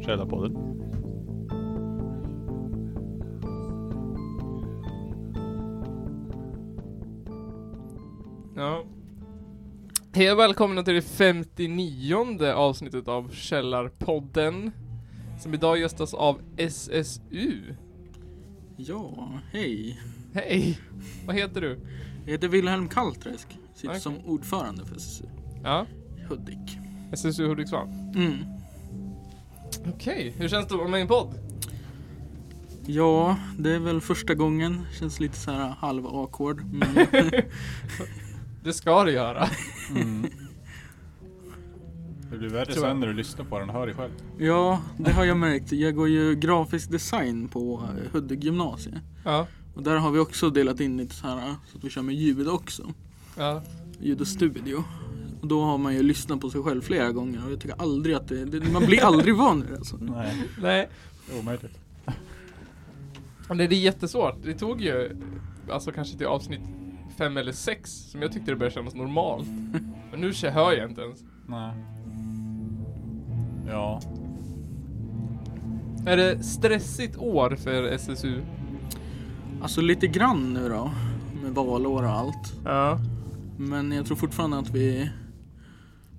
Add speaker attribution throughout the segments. Speaker 1: Källarpodden.
Speaker 2: Ja. Hej och välkomna till det 59 avsnittet av Källarpodden. Som idag gästas av SSU.
Speaker 3: Ja, hej.
Speaker 2: Hej! Vad heter du?
Speaker 3: Jag heter Wilhelm Kalträsk. Sitter
Speaker 2: Okej.
Speaker 3: som ordförande för SSU
Speaker 2: Ja,
Speaker 3: Hudik.
Speaker 2: SSU Hudiksvall.
Speaker 3: Mm.
Speaker 2: Okej, hur känns det att vara med i en podd?
Speaker 3: Ja, det är väl första gången. Känns lite så här halv awkward. Men
Speaker 2: Det ska du göra.
Speaker 1: Det blir värre
Speaker 2: Tror jag.
Speaker 1: sen när du lyssnar på den och hör dig själv.
Speaker 3: ja, det har jag märkt. Jag går ju grafisk design på eh, Hudik gymnasie.
Speaker 2: Ja,
Speaker 3: Och där har vi också delat in lite så här eh, så att vi kör med ljud också.
Speaker 2: ja.
Speaker 3: Ljud och studio. Och då har man ju lyssnat på sig själv flera gånger och jag tycker aldrig att det, det man blir aldrig van vid det alltså.
Speaker 1: Nej,
Speaker 2: Nej,
Speaker 1: det är omöjligt.
Speaker 2: men det är jättesvårt. Det tog ju, alltså kanske till avsnitt fem eller sex som jag tyckte det började kännas normalt. Men nu kä- hör jag inte ens.
Speaker 1: Nej. Ja.
Speaker 2: Är det stressigt år för SSU?
Speaker 3: Alltså lite grann nu då. Med valår och allt.
Speaker 2: Ja.
Speaker 3: Men jag tror fortfarande att vi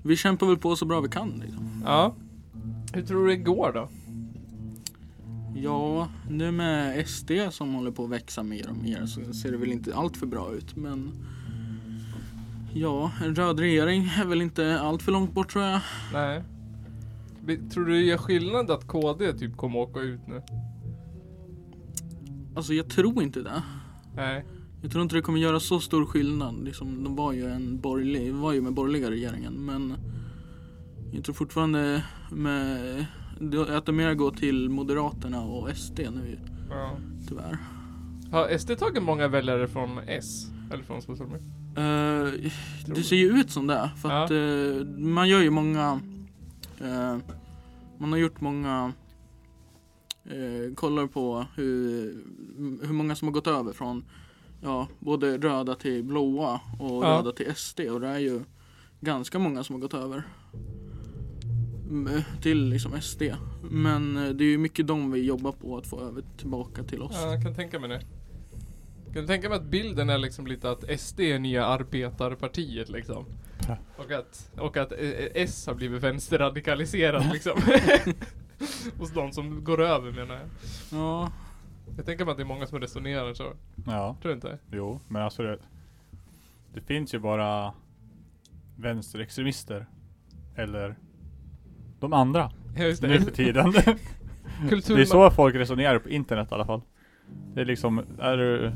Speaker 3: Vi kämpar väl på så bra vi kan liksom.
Speaker 2: Ja. Hur tror du det går då?
Speaker 3: Ja, nu med SD som håller på att växa mer och mer så ser det väl inte allt för bra ut men Ja, en röd regering är väl inte allt för långt bort tror jag.
Speaker 2: Nej. Vi- Tror du det gör skillnad att KD typ kommer åka ut nu?
Speaker 3: Alltså jag tror inte det.
Speaker 2: Nej.
Speaker 3: Jag tror inte det kommer göra så stor skillnad. Liksom, de var ju en borgerlig, var ju med borgerliga regeringen men jag tror fortfarande med, att det mer går till Moderaterna och SD nu
Speaker 2: Ja.
Speaker 3: tyvärr.
Speaker 2: Har SD tagit många väljare från S? Eller från Socialdemokraterna?
Speaker 3: Eh,
Speaker 2: Tror
Speaker 3: det ser ju ut som det. För
Speaker 2: Ja.
Speaker 3: att eh, man gör ju många... eh, man har gjort många... eh, kollar på hur, hur många som har gått över från ja, både röda till blåa och
Speaker 2: Ja.
Speaker 3: röda till SD. Och det är ju ganska många som har gått över. mm, Till liksom SD. Men eh, det är ju mycket de vi jobbar på att få över tillbaka till oss.
Speaker 2: Ja, jag kan tänka mig det. Kan du tänka mig att bilden är liksom lite att SD är nya arbetarpartiet liksom?
Speaker 1: Ja.
Speaker 2: Och att, och att eh, eh, S har blivit vänsterradikaliserat liksom. Hos de som går över menar jag.
Speaker 3: Ja,
Speaker 2: Jag tänker mig att det är många som resonerar så.
Speaker 1: Ja.
Speaker 2: Tror du inte?
Speaker 1: Jo, men alltså det, det finns ju bara vänsterextremister. Eller de andra
Speaker 2: Ja, just
Speaker 1: nu
Speaker 2: det.
Speaker 1: för tiden. det
Speaker 2: Kultur...
Speaker 1: är så folk resonerar på internet i alla fall. Det är liksom, är du,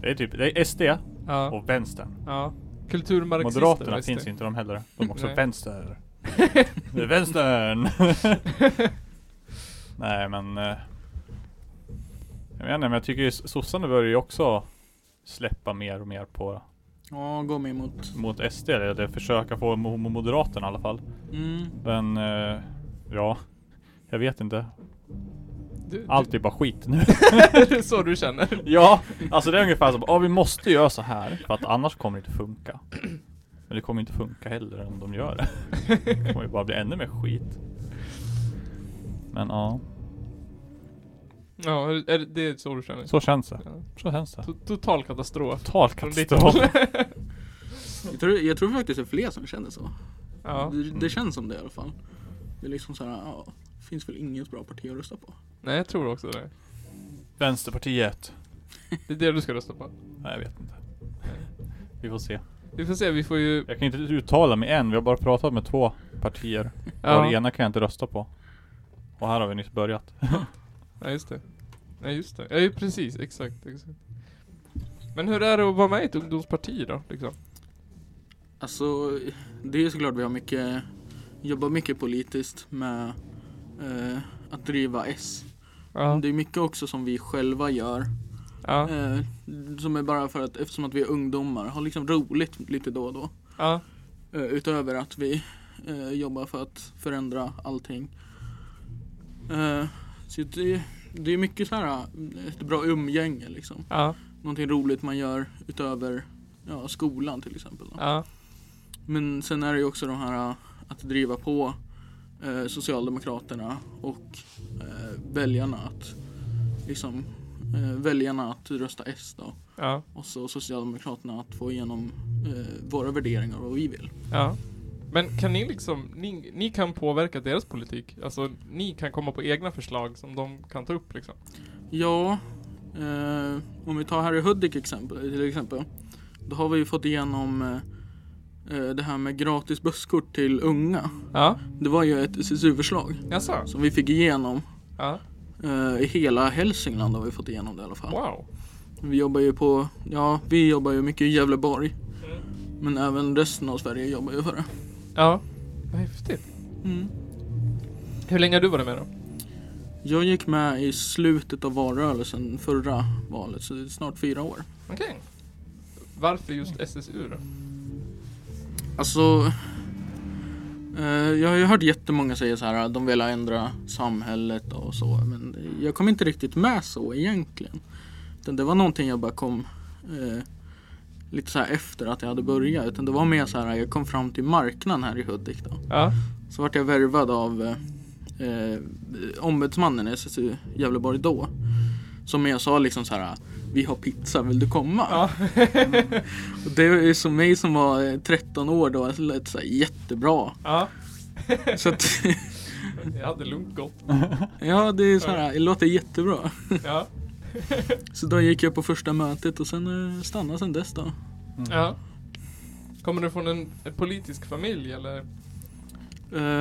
Speaker 1: det är typ, det är SD
Speaker 2: Ja.
Speaker 1: och vänstern.
Speaker 2: ja. Kulturmarxister.
Speaker 1: Moderaterna
Speaker 2: visst
Speaker 1: finns
Speaker 2: det.
Speaker 1: inte de heller. De är också
Speaker 2: Nej.
Speaker 1: vänster. Det är vänstern! Nej men... eh, Jag vet inte, men jag tycker ju s- sossarna börjar ju också släppa mer och mer på
Speaker 3: ja gå med mot...
Speaker 1: mot SD eller försöka få mo- mo- Moderaterna i alla fall.
Speaker 3: Mm.
Speaker 1: Men eh, ja, jag vet inte.
Speaker 2: Du,
Speaker 1: Allt är bara skit nu.
Speaker 2: Det är så du känner.
Speaker 1: ja, alltså det är ungefär som, ja vi måste göra så här för att annars kommer det inte funka. Men det kommer inte funka heller om de gör det. Det kommer ju bara bli ännu mer skit. Men ja,
Speaker 2: Ja, är det, det är så du känner.
Speaker 1: så känns det.
Speaker 2: Ja.
Speaker 1: Så känns det.
Speaker 2: To- Total katastrof.
Speaker 1: Total
Speaker 2: Från ditt
Speaker 1: katastrof.
Speaker 2: håll.
Speaker 3: Jag tror, jag tror faktiskt det är fler som känner så.
Speaker 2: ja. Mm.
Speaker 3: Det, det känns som det i alla fall. Det är liksom så här, ja, det finns väl inget bra parti att rösta på.
Speaker 2: Nej, jag tror också det.
Speaker 1: Vänsterpartiet.
Speaker 2: Det är det du ska rösta på.
Speaker 1: Nej, jag vet inte. Vi får se.
Speaker 2: Vi får se, vi får ju...
Speaker 1: Jag kan inte uttala mig än, vi har bara pratat med två partier. Och det
Speaker 2: Ja,
Speaker 1: ena kan jag inte rösta på. Och här har vi nyss börjat.
Speaker 2: ja just det. Ja, just det. Ja, ju precis. Exakt, exakt. Men hur är det att vara med i ett ungdomsparti då, liksom?
Speaker 3: Alltså, det är ju såklart vi har mycket, jobbar mycket politiskt med eh, att driva S.
Speaker 2: Ja.
Speaker 3: Mm, Det är mycket också som vi själva gör.
Speaker 2: Ja.
Speaker 3: Eh, som är bara för att, eftersom att vi är ungdomar, har liksom roligt lite då och då.
Speaker 2: Ja.
Speaker 3: Eh, Utöver att vi eh, jobbar för att förändra allting. Eh, så det, det är mycket så här eh, ett bra umgänge liksom.
Speaker 2: Ja.
Speaker 3: Någonting roligt man gör utöver ja, skolan till exempel. Då.
Speaker 2: Ja.
Speaker 3: Men sen är det ju också de här äh, att driva på eh, Socialdemokraterna och eh, väljarna att liksom eh, väljarna att rösta S då
Speaker 2: Ja,
Speaker 3: och så Socialdemokraterna att få igenom eh, våra värderingar och vad vi vill.
Speaker 2: ja. Men kan ni liksom, ni, ni kan påverka deras politik? Alltså, ni kan komma på egna förslag som de kan ta upp liksom?
Speaker 3: Ja, eh, om vi tar Harry Hudik exempel, till exempel. Då har vi ju fått igenom eh, eh, det här med gratis busskort till unga.
Speaker 2: Ja,
Speaker 3: Det var ju ett SSU-förslag
Speaker 2: jaså?
Speaker 3: som vi fick igenom.
Speaker 2: Ja,
Speaker 3: eh, I hela Hälsingland har vi fått igenom det i alla fall.
Speaker 2: wow.
Speaker 3: Vi jobbar ju på, ja, vi jobbar ju mycket i Gävleborg. Men även resten av Sverige jobbar ju för det.
Speaker 2: Ja, vad häftigt.
Speaker 3: Mm.
Speaker 2: Hur länge har du varit med då?
Speaker 3: Jag gick med i slutet av valrörelsen förra valet, så det är snart fyra år.
Speaker 2: Okej. Varför just SSU då?
Speaker 3: Alltså, eh, jag har ju hört jättemånga säga så här, de vill ändra samhället och så, men jag kom inte riktigt med så egentligen. Utan det var någonting jag bara kom eh, lite så här efter att jag hade börjat, utan det var mer så här, jag kom fram till marknaden här i Hudik då.
Speaker 2: Ja,
Speaker 3: Så vart jag värvad av eh, eh, ombudsmannen i SSU Gävleborg då. Som jag sa liksom så här, vi har pizza, vill du komma?
Speaker 2: Ja.
Speaker 3: Och det är som mig som var eh, 13 år då, det lät så här jättebra.
Speaker 2: ja.
Speaker 3: Så att,
Speaker 2: Jag hade lugnt gått.
Speaker 3: ja, det är så här, det låter jättebra.
Speaker 2: Ja.
Speaker 3: Så då gick jag på första mötet och sen eh, stannade sen dess då.
Speaker 2: ja. Kommer du från en, en politisk familj eller?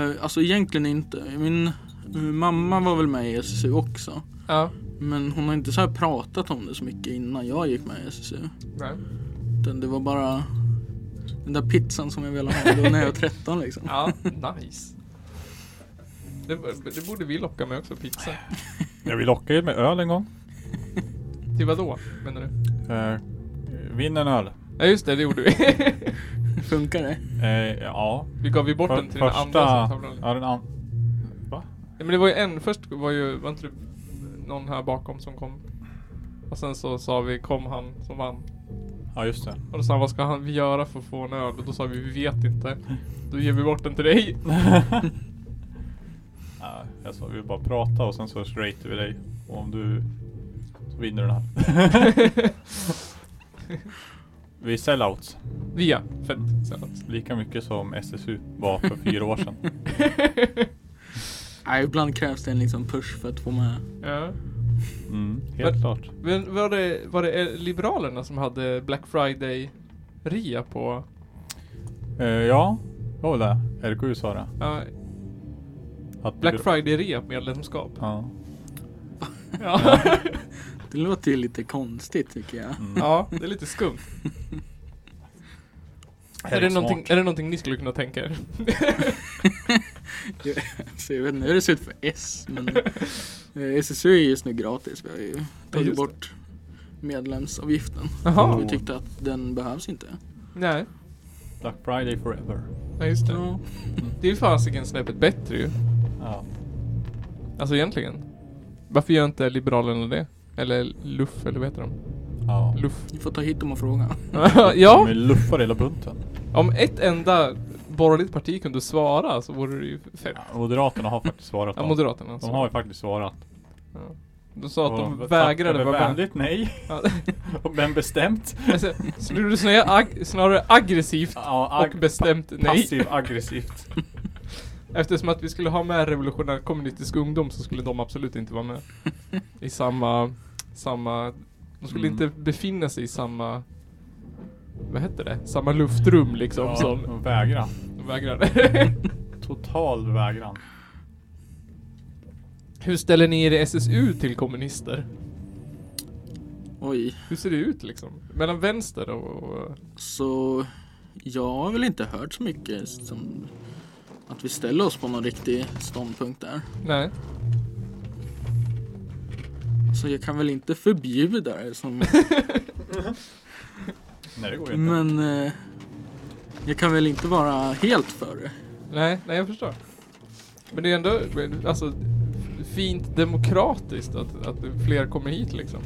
Speaker 3: Eh, alltså egentligen inte. Min eh, mamma var väl med i SSU också.
Speaker 2: Ja.
Speaker 3: Men hon har inte så här pratat om det så mycket innan jag gick med i SSU.
Speaker 2: Nej.
Speaker 3: Utan det var bara den där pizzan som jag ville ha då när jag var 13 liksom.
Speaker 2: Ja, nice. Det, det borde vi locka med också, pizza.
Speaker 1: Jag vill locka er med öl en gång.
Speaker 2: Till vad då, menar du?
Speaker 1: Eh, vinn en öl.
Speaker 2: Ja just det, det gjorde vi.
Speaker 3: Funkar det?
Speaker 1: Eh, ja.
Speaker 2: Vi gav ju bort
Speaker 1: För-
Speaker 2: den till den
Speaker 1: första-
Speaker 2: andra som tävlade.
Speaker 1: Ja den an... Va?
Speaker 2: Ja, men det var ju en, först var ju, var inte det någon här bakom som kom? Och sen så sa vi, kom han som vann.
Speaker 1: Ja just det.
Speaker 2: Och då sa han, vad ska han vi göra för att få en öl? Och då sa vi, vi vet inte. Då ger vi bort den till dig.
Speaker 1: Nej, jag sa vi vill bara prata och sen så ratear vi dig. Och om du... Så vinner du den här. vi är sellouts.
Speaker 2: Via, fett. Sen att-
Speaker 1: Lika mycket som SSU var för fyra år sedan.
Speaker 3: Nej, ibland krävs det en liksom push för att få med.
Speaker 2: Ja.
Speaker 1: Mm, helt
Speaker 2: Men-
Speaker 1: klart.
Speaker 2: Men var det, var det eh, Liberalerna som hade Black Friday-ria på?
Speaker 1: Eh, ja, det var väl det. RKU sa det.
Speaker 2: Ja,
Speaker 1: Att
Speaker 2: Black Friday-ria på medlemskap.
Speaker 1: Ja.
Speaker 2: Ja.
Speaker 3: Det låter ju lite konstigt tycker jag.
Speaker 1: Mm.
Speaker 2: ja, det är lite skumt. Är det,
Speaker 1: Smart.
Speaker 2: någonting, är det någonting ni skulle kunna tänka er?
Speaker 3: Så jag vet inte hur det ser ut för S men eh, SSU är just nu gratis. Vi har ju
Speaker 2: just
Speaker 3: tagit
Speaker 2: det.
Speaker 3: bort medlemsavgiften.
Speaker 2: Jaha.
Speaker 3: Vi tyckte att den behövs inte.
Speaker 2: Nej.
Speaker 1: Black Friday forever.
Speaker 2: Ja, just det.
Speaker 3: Ja.
Speaker 2: Det är ju fasiken snäppet bättre ju.
Speaker 1: Ja.
Speaker 2: Alltså egentligen. Varför gör inte Liberalerna det? Eller Luff, eller vad heter de?
Speaker 1: ja.
Speaker 2: Luff.
Speaker 3: Ni får ta hit dem och fråga.
Speaker 2: ja,
Speaker 1: De luffar hela bunten.
Speaker 2: om ett enda borgerligt parti kunde svara så vore det ju fett.
Speaker 1: Ja, Moderaterna har faktiskt svarat.
Speaker 2: Ja,
Speaker 1: dem.
Speaker 2: Moderaterna alltså.
Speaker 1: de har ju faktiskt svarat.
Speaker 2: Ja. De sa att de
Speaker 1: Och
Speaker 2: vägrade
Speaker 1: tackade
Speaker 2: vara med.
Speaker 1: vänligt nej.
Speaker 2: Ja.
Speaker 1: Och men bestämt.
Speaker 2: Alltså, skulle du säga ag- snarare aggressivt
Speaker 1: Ja,
Speaker 2: och bestämt nej?
Speaker 1: Passiv aggressivt.
Speaker 2: Eftersom att vi skulle ha med revolutionär kommunistisk ungdom så skulle de absolut inte vara med. I samma, samma, de skulle
Speaker 1: Mm.
Speaker 2: inte befinna sig i samma, vad heter det? Samma luftrum liksom
Speaker 1: Ja, Mm.
Speaker 2: som
Speaker 1: och Vägran.
Speaker 2: de vägrade.
Speaker 1: Total vägran.
Speaker 2: Hur ställer ni er i SSU till kommunister?
Speaker 3: Oj,
Speaker 2: Hur ser det ut liksom? Mellan vänster och... och
Speaker 3: så jag har väl inte hört så mycket som att vi ställer oss på någon riktig ståndpunkt där.
Speaker 2: nej.
Speaker 3: Så jag kan väl inte förbjuda det som,
Speaker 1: Nej det går ju inte.
Speaker 3: men eh, jag kan väl inte vara helt för det.
Speaker 2: Nej, nej jag förstår. Men det är ändå alltså, fint demokratiskt att, att fler kommer hit liksom.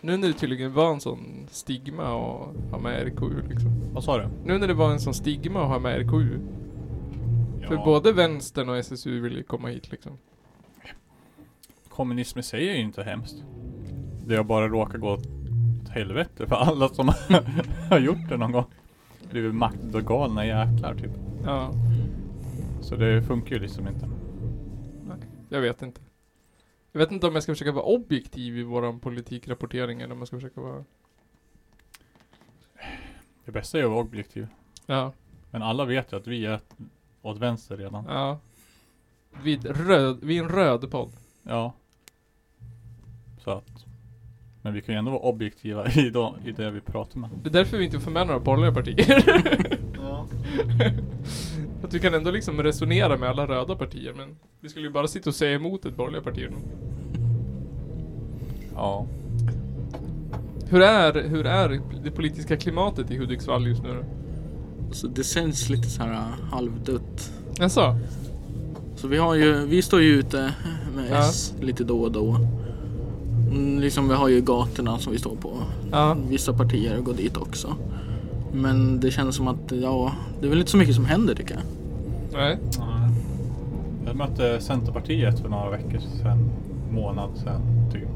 Speaker 2: Nu när det tydligen var en sån stigma att ha med RKU liksom.
Speaker 1: Vad sa du?
Speaker 2: Nu när det var en sån stigma att ha med RKU. För både vänstern och SSU vill ju komma hit liksom.
Speaker 1: Kommunism i sig är ju inte hemskt. Det har bara råkat gå åt helvete för alla som har gjort det någon gång. Blivit maktgalna jäklar typ.
Speaker 2: Ja,
Speaker 1: Så det funkar ju liksom inte.
Speaker 2: jag vet inte. Jag vet inte om jag ska försöka vara objektiv i våran politikrapportering eller om jag ska försöka vara...
Speaker 1: Det bästa är att vara objektiv.
Speaker 2: Ja,
Speaker 1: Men alla vet ju att vi är åt vänster redan.
Speaker 2: ja. Vid, röd, vid en röd podd.
Speaker 1: Ja. Så att. Men vi kan ju ändå vara objektiva i, de, i det vi pratar med.
Speaker 2: Det är därför vi inte får med några borgerliga partier.
Speaker 1: Ja.
Speaker 2: Att vi kan ändå liksom resonera med alla röda partier men vi skulle ju bara sitta och säga emot ett borgerliga parti.
Speaker 1: Ja.
Speaker 2: Hur är, hur är det politiska klimatet i Hudiksvall just nu då?
Speaker 3: Så det känns lite så här äh, halvdött.
Speaker 2: Jaså?
Speaker 3: Så vi har ju, vi står ju ute med
Speaker 2: Ja.
Speaker 3: S lite då och då. Mm, liksom vi har ju gatorna som vi står på.
Speaker 2: Ja.
Speaker 3: Vissa partier går dit också. Men det känns som att, ja, det är väl inte så mycket som händer tycker jag.
Speaker 2: Nej.
Speaker 1: Jag mötte Centerpartiet för några veckor sedan. Månad sedan typ.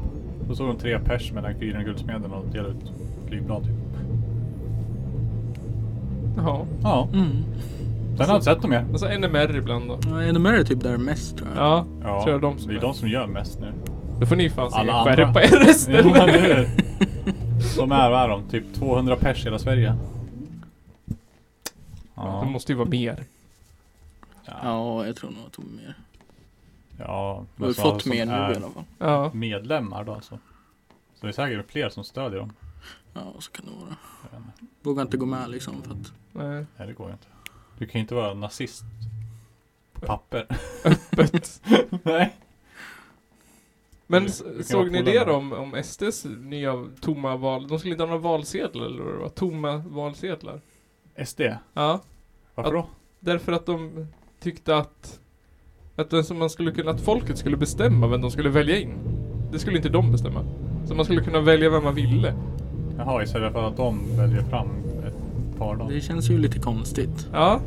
Speaker 1: Då såg de tre pers med den gyllene guldsmeden och delade ut flygblad typ.
Speaker 2: Ja.
Speaker 1: Ja.
Speaker 3: Mm.
Speaker 1: Sen har jag inte sett dem mer.
Speaker 2: Och så NMR ibland då.
Speaker 3: Ja, NMR är typ där mest tror jag.
Speaker 2: Ja.
Speaker 1: Ja.
Speaker 2: Tror jag de som
Speaker 1: det är de som gör mest nu.
Speaker 2: Då får ni fan se
Speaker 1: Alla
Speaker 2: skärpa
Speaker 1: andra.
Speaker 2: er resten.
Speaker 1: Ja, eller hur? De är, vad är de? Typ 200 pers i hela Sverige.
Speaker 2: Det måste ju vara mer.
Speaker 1: Ja.
Speaker 3: Ja, jag tror nog att de är mer.
Speaker 1: ja.
Speaker 3: Vi har
Speaker 1: alltså,
Speaker 3: fått
Speaker 1: som
Speaker 3: mer nu
Speaker 1: är
Speaker 3: i alla fall.
Speaker 2: Ja.
Speaker 1: Medlemmar då alltså. Så det är säkert fler som stödjer dem.
Speaker 3: Ja, så kan det vara.
Speaker 1: Jag vet inte.
Speaker 3: Vågar inte gå med liksom för att
Speaker 2: Nej.
Speaker 1: Nej det går ju inte. Du kan ju inte vara nazist. På papper.
Speaker 2: Öppet.
Speaker 1: Nej.
Speaker 2: Men
Speaker 1: Du-
Speaker 2: s-
Speaker 1: du kan
Speaker 2: såg
Speaker 1: vara
Speaker 2: ni det
Speaker 1: polare.
Speaker 2: då om, om SDs nya tomma val? De skulle inte ha några valsedlar eller vad det var? Tomma valsedlar.
Speaker 1: SD.
Speaker 2: Ja.
Speaker 1: Varför då?
Speaker 2: Därför att de tyckte att att, det som man skulle kunna, att folket skulle bestämma vem de skulle välja in. Det skulle inte de bestämma. Så man skulle kunna välja vem man ville.
Speaker 1: Jaha istället för att de väljer fram ett par då.
Speaker 3: det känns ju lite konstigt.
Speaker 2: Ja,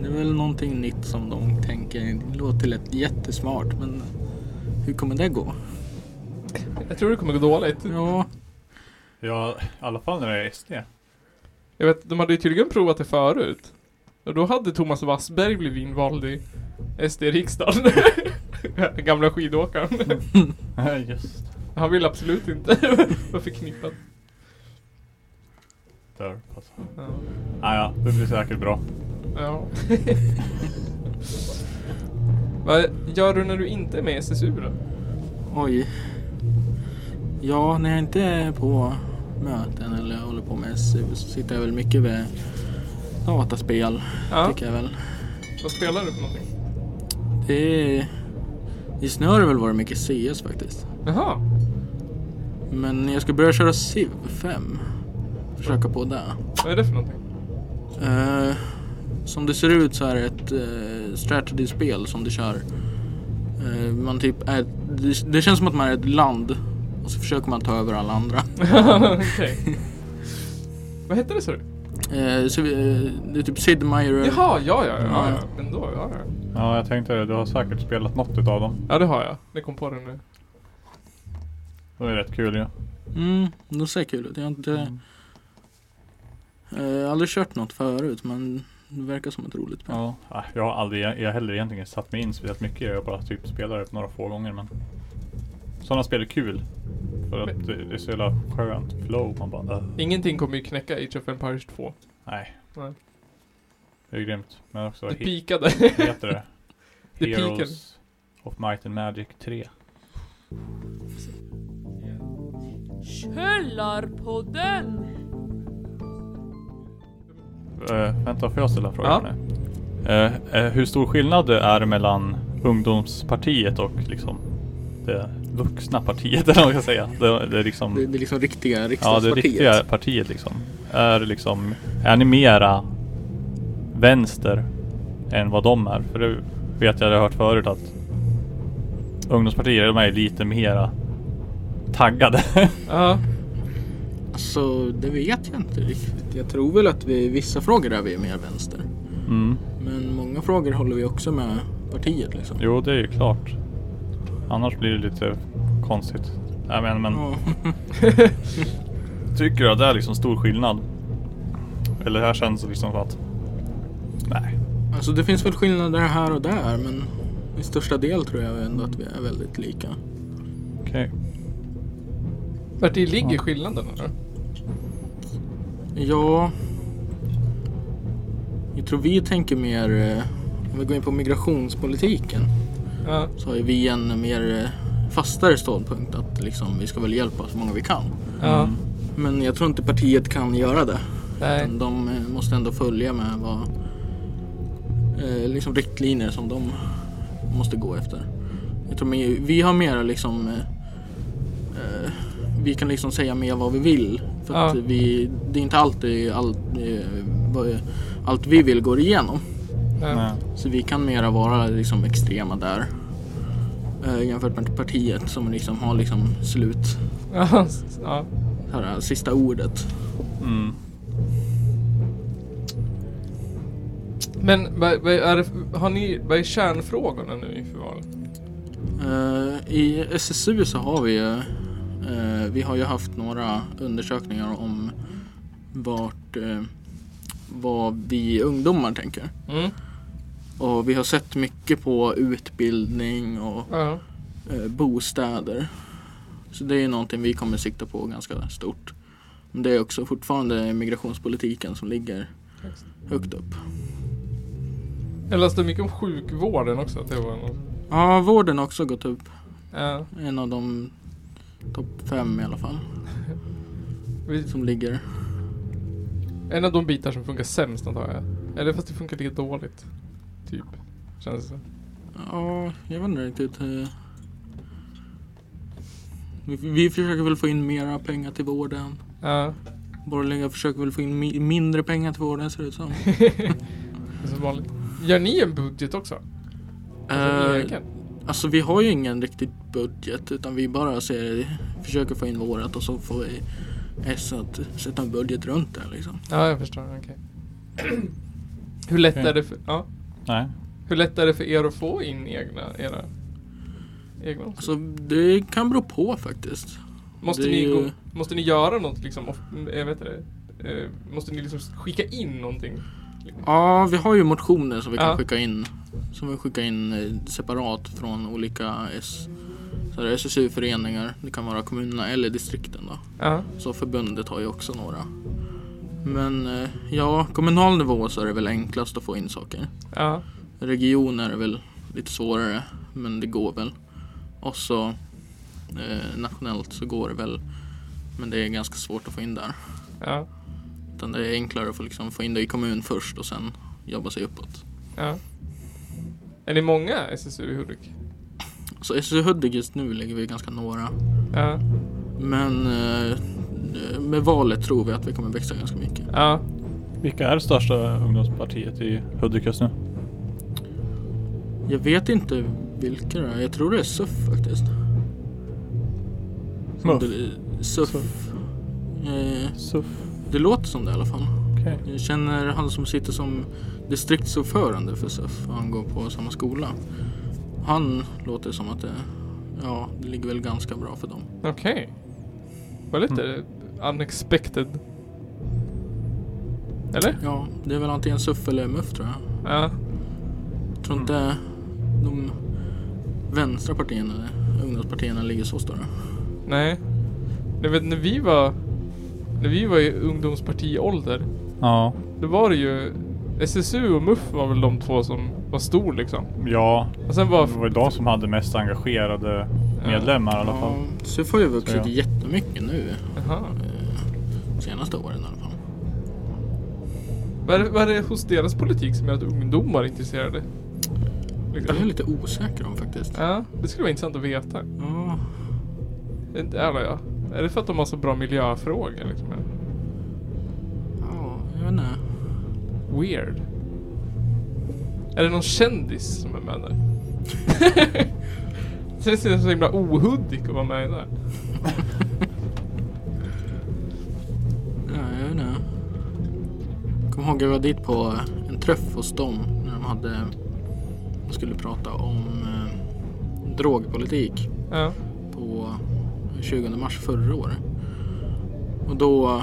Speaker 3: Det är väl någonting nytt som de tänker. Det låter lätt jättesmart men hur kommer det gå?
Speaker 2: jag tror det kommer gå dåligt.
Speaker 3: Ja,
Speaker 1: Ja i alla fall när det är SD.
Speaker 2: Jag vet, de hade ju tydligen provat det förut. Och då hade Thomas Wassberg blivit invald i SD-riksdagen. Den gamla skidåkaren.
Speaker 1: Nej, Just
Speaker 2: Han vill absolut inte vara förknippad.
Speaker 1: där. Alltså.
Speaker 2: Ja.
Speaker 1: Ah, ja, det blir säkert bra.
Speaker 2: ja. Vad gör du när du inte är med i SSU då?
Speaker 3: oj. Ja, när jag inte är på möten eller håller på med SU så sitter jag väl mycket vid dataspel
Speaker 2: Ja.
Speaker 3: tycker jag väl.
Speaker 2: Vad spelar du för någonting?
Speaker 3: Det är... Just nu har det väl varit mycket CS faktiskt.
Speaker 2: Jaha.
Speaker 3: Men jag ska börja köra Civ 5. Försöka på det.
Speaker 2: Vad är det för någonting?
Speaker 3: Eh, som det ser ut så är det ett uh, strategy-spel som du kör. Eh, man typ är, det, det känns som att man är ett land och så försöker man ta över alla andra.
Speaker 2: Okej. Vad heter det sa du?
Speaker 3: Eh, så, vi- eh, det är typ Sid Meier.
Speaker 2: Jaha, ja, ja, ja, ja.
Speaker 3: Ja.
Speaker 2: Men då, ja, ja.
Speaker 1: Ja, jag tänkte det. Du har säkert spelat något utav dem.
Speaker 2: Ja, det har jag. Det kom på det nu.
Speaker 1: De är rätt kul ju. Ja.
Speaker 3: Mm, de ser kul ut. Jag har inte, eh, aldrig kört något förut men det verkar som ett roligt spel.
Speaker 1: Ja. Ah, Jag har aldrig, jag jag har heller egentligen satt mig in speciellt mycket i det. Jag bara typ spelar det några få gånger men Sådana spel är kul. För att det det är så jävla skönt flow. Man bara äh.
Speaker 2: Ingenting kommer ju knäcka Age of Empires 2.
Speaker 1: Nej.
Speaker 2: Nej.
Speaker 1: Det är grymt. Men också,
Speaker 2: Det
Speaker 1: he-
Speaker 2: pikade.
Speaker 1: vad heter det?
Speaker 2: Det
Speaker 1: Heroes of Might and Magic 3.
Speaker 4: Källarpodden!
Speaker 1: Uh, vänta, får jag ställa en fråga
Speaker 2: Ja.
Speaker 1: nu? Eh, eh, hur stor skillnad det är mellan ungdomspartiet och liksom det vuxna partiet eller vad man ska säga? Det, det är liksom...
Speaker 3: Det, det är liksom riktiga
Speaker 1: Ja, det
Speaker 3: riksdagspartiet.
Speaker 1: riktiga partiet liksom. Är liksom, är ni mera vänster än vad de är? För det vet jag, jag har hört förut att ungdomspartier, de är lite mera taggade.
Speaker 2: Ja.
Speaker 3: Alltså, det vet jag inte riktigt. Jag tror väl att vi, vissa frågor är vi mer vänster.
Speaker 1: Mm.
Speaker 3: Men många frågor håller vi också med partiet liksom.
Speaker 1: Jo, det är ju klart. Annars blir det lite konstigt. Jag menar, men
Speaker 3: Ja.
Speaker 1: tycker du att det är liksom stor skillnad? Eller här känns det liksom att... Nej.
Speaker 3: Alltså det finns väl skillnader här och där men i största del tror jag ändå att vi är väldigt lika.
Speaker 1: Okej.
Speaker 2: Vart det ligger
Speaker 1: Ja.
Speaker 2: skillnaden eller?
Speaker 3: Ja, jag tror vi tänker mer, eh, om vi går in på migrationspolitiken
Speaker 2: Ja.
Speaker 3: så har ju vi en mer eh, fastare ståndpunkt att liksom, vi ska väl hjälpa så många vi kan.
Speaker 2: Ja.
Speaker 1: Mm.
Speaker 3: Men jag tror inte partiet kan göra det.
Speaker 2: Nej.
Speaker 3: Utan De eh, måste ändå följa med vad, eh, liksom riktlinjer som de måste gå efter. Jag tror mer- vi har mera liksom, eh, eh, vi kan liksom säga mer vad vi vill. För att
Speaker 2: Ja.
Speaker 3: vi, det är inte alltid allt, eh, vad- allt vi vill går igenom.
Speaker 2: Ja.
Speaker 1: Nej.
Speaker 3: Så vi kan mera vara liksom extrema där. Eh, jämfört med partiet som liksom har liksom slut,
Speaker 2: Ja. s- ja.
Speaker 3: det här sista ordet.
Speaker 1: Mm.
Speaker 2: Men vad, vad är det, har ni, vad är kärnfrågorna nu inför valet?
Speaker 3: Eh, I SSU så har vi ju, eh, vi har ju haft några undersökningar om vart, eh, vad vi ungdomar tänker.
Speaker 2: Mm.
Speaker 3: Och vi har sett mycket på utbildning och
Speaker 2: Ja.
Speaker 3: eh, bostäder. Så det är ju någonting vi kommer sikta på ganska stort. Men det är också fortfarande migrationspolitiken som ligger
Speaker 2: Exakt.
Speaker 3: högt upp.
Speaker 2: Jag läste mycket om sjukvården också. Att det var något.
Speaker 3: Ja, vården har också gått upp.
Speaker 2: Ja.
Speaker 3: En av de topp fem i alla fall
Speaker 2: Vi-
Speaker 3: som ligger.
Speaker 2: En av de bitar som funkar sämst antar jag. Eller fast det funkar lika dåligt. Typ. Känns det som.
Speaker 3: Ja, jag vet inte riktigt. eh. Vi, vi försöker väl få in mera pengar till vården.
Speaker 2: Ja.
Speaker 3: Borgerliga försöker väl få in mi- mindre pengar till vården ser det ut som.
Speaker 2: Alltså, Det är som vanligt. Gör ni en budget också? Alltså,
Speaker 3: Eh,
Speaker 2: ni egen?
Speaker 3: alltså vi har ju ingen riktig budget utan vi bara ser, försöker få in vårat och så får vi S att sätta en budget runt det liksom.
Speaker 2: Ja, jag förstår. Okej. Hur lätt
Speaker 1: Okej.
Speaker 2: är det för... Ja.
Speaker 1: Nej.
Speaker 2: Hur lätt är det för er att få in egna... Era, egna också?
Speaker 3: Alltså det kan bero på faktiskt.
Speaker 2: måste,
Speaker 3: det är
Speaker 2: ni
Speaker 3: ju-
Speaker 2: gå, måste ni göra något liksom? Of, jag vet inte. Eh, måste ni liksom skicka in någonting?
Speaker 3: Ja, vi har ju motioner som vi kan
Speaker 2: Ja.
Speaker 3: skicka in. Som vi skickar in eh, separat från olika S- så här SSU-föreningar. Det kan vara kommunerna eller distrikten då.
Speaker 2: Ja.
Speaker 3: Så förbundet har ju också några. Men eh, ja, kommunal nivå så är det väl enklast att få in saker.
Speaker 2: Ja.
Speaker 3: Regioner är väl lite svårare, men det går väl. Och så eh, nationellt så går det väl. Men det är ganska svårt att få in där.
Speaker 2: Ja.
Speaker 3: Utan det är enklare att få, liksom, få in det i kommun först och sen jobba sig uppåt.
Speaker 2: Ja. Är ni många SSU i Hudik?
Speaker 3: Så SSU Hudik just nu ligger vi ganska några.
Speaker 2: Ja.
Speaker 3: Men eh, med valet tror vi att vi kommer växa ganska mycket.
Speaker 2: Ja.
Speaker 1: Vilka är det största ungdomspartiet i Hudik just nu?
Speaker 3: Jag vet inte vilka det är. Jag tror det är SUF faktiskt.
Speaker 1: Muff.
Speaker 3: Det- SUF. Eh,
Speaker 1: SUF.
Speaker 3: det låter som det i alla fall.
Speaker 1: Okej.
Speaker 3: Jag känner han som sitter som distriktsordförande för SUF. Han går på samma skola. Han låter som att det, ja, det ligger väl ganska bra för dem.
Speaker 2: Okej. Var lite
Speaker 3: Mm.
Speaker 2: unexpected. Eller?
Speaker 3: Ja, det är väl antingen SUF eller MUF tror jag.
Speaker 2: Ja.
Speaker 3: tror inte
Speaker 1: Mm.
Speaker 3: de vänstra partierna, ungdomspartierna, ligger så stora.
Speaker 2: Nej. Jag vet när vi var... När vi var i ungdomspartiålder.
Speaker 1: Ja.
Speaker 2: Då var det ju... SSU och MUF var väl de två som var stor liksom.
Speaker 1: Ja,
Speaker 2: Och sen var...
Speaker 1: det var ju de som hade mest engagerade medlemmar i alla fall.
Speaker 3: Ja, SUF har ju vuxit
Speaker 1: Så ja.
Speaker 3: jättemycket nu,
Speaker 2: Jaha.
Speaker 3: de senaste åren i alla fall.
Speaker 2: Vad är, det- vad är det hos deras politik som gör att ungdomar är intresserade?
Speaker 3: Det är jag
Speaker 2: Liksom.
Speaker 3: lite osäker om faktiskt.
Speaker 2: Ja, det skulle vara intressant att veta.
Speaker 3: Ja,
Speaker 2: Inte alla ja. Är det för att de har så bra miljöfrågor liksom? eller?
Speaker 3: ja, jag vet inte.
Speaker 2: Weird. Är det någon kändis som är med där? Så det ser så himla ohuddig att vara med i där.
Speaker 3: Ja, jag vet inte. Jag kommer ihåg jag var dit på en träff hos dem när de hade... De skulle prata om eh, drogpolitik
Speaker 2: Ja.
Speaker 3: på 20 mars förra året. Och då,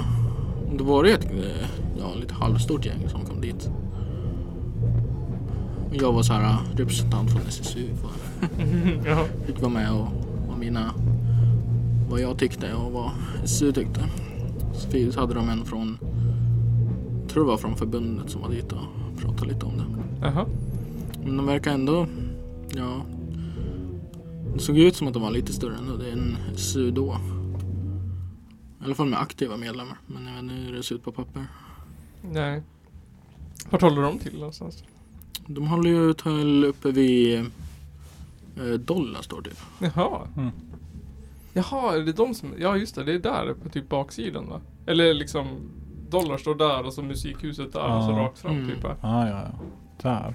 Speaker 3: då var det ett eh, ja, lite halvstort gäng som kom dit. Och jag var så här eh, representant från SSU. och
Speaker 2: ja.
Speaker 3: Fick vara med och, och mina, vad jag tyckte och vad SSU tyckte. Så fi- Så hade de en från, jag tror det var från förbundet som var dit och pratade lite om det.
Speaker 2: Jaha.
Speaker 3: Men de verkar ändå, ja. Det såg ju ut som att de var lite större än det är en SU då. I alla fall med aktiva medlemmar. Men jag vet inte hur det ser ut på papper.
Speaker 2: Nej. Vart håller de till någonstans?
Speaker 3: De håller ju till uppe vid eh, Dollar står typ.
Speaker 2: Jaha.
Speaker 1: Mm.
Speaker 2: Jaha, är det de som... Ja, just det. Det är där på typ baksidan va? Eller liksom... Dollar står där och så musikhuset där och så
Speaker 1: Ja.
Speaker 2: rakt fram
Speaker 3: Mm.
Speaker 2: typ va?
Speaker 1: Ah, ja, ja. Där.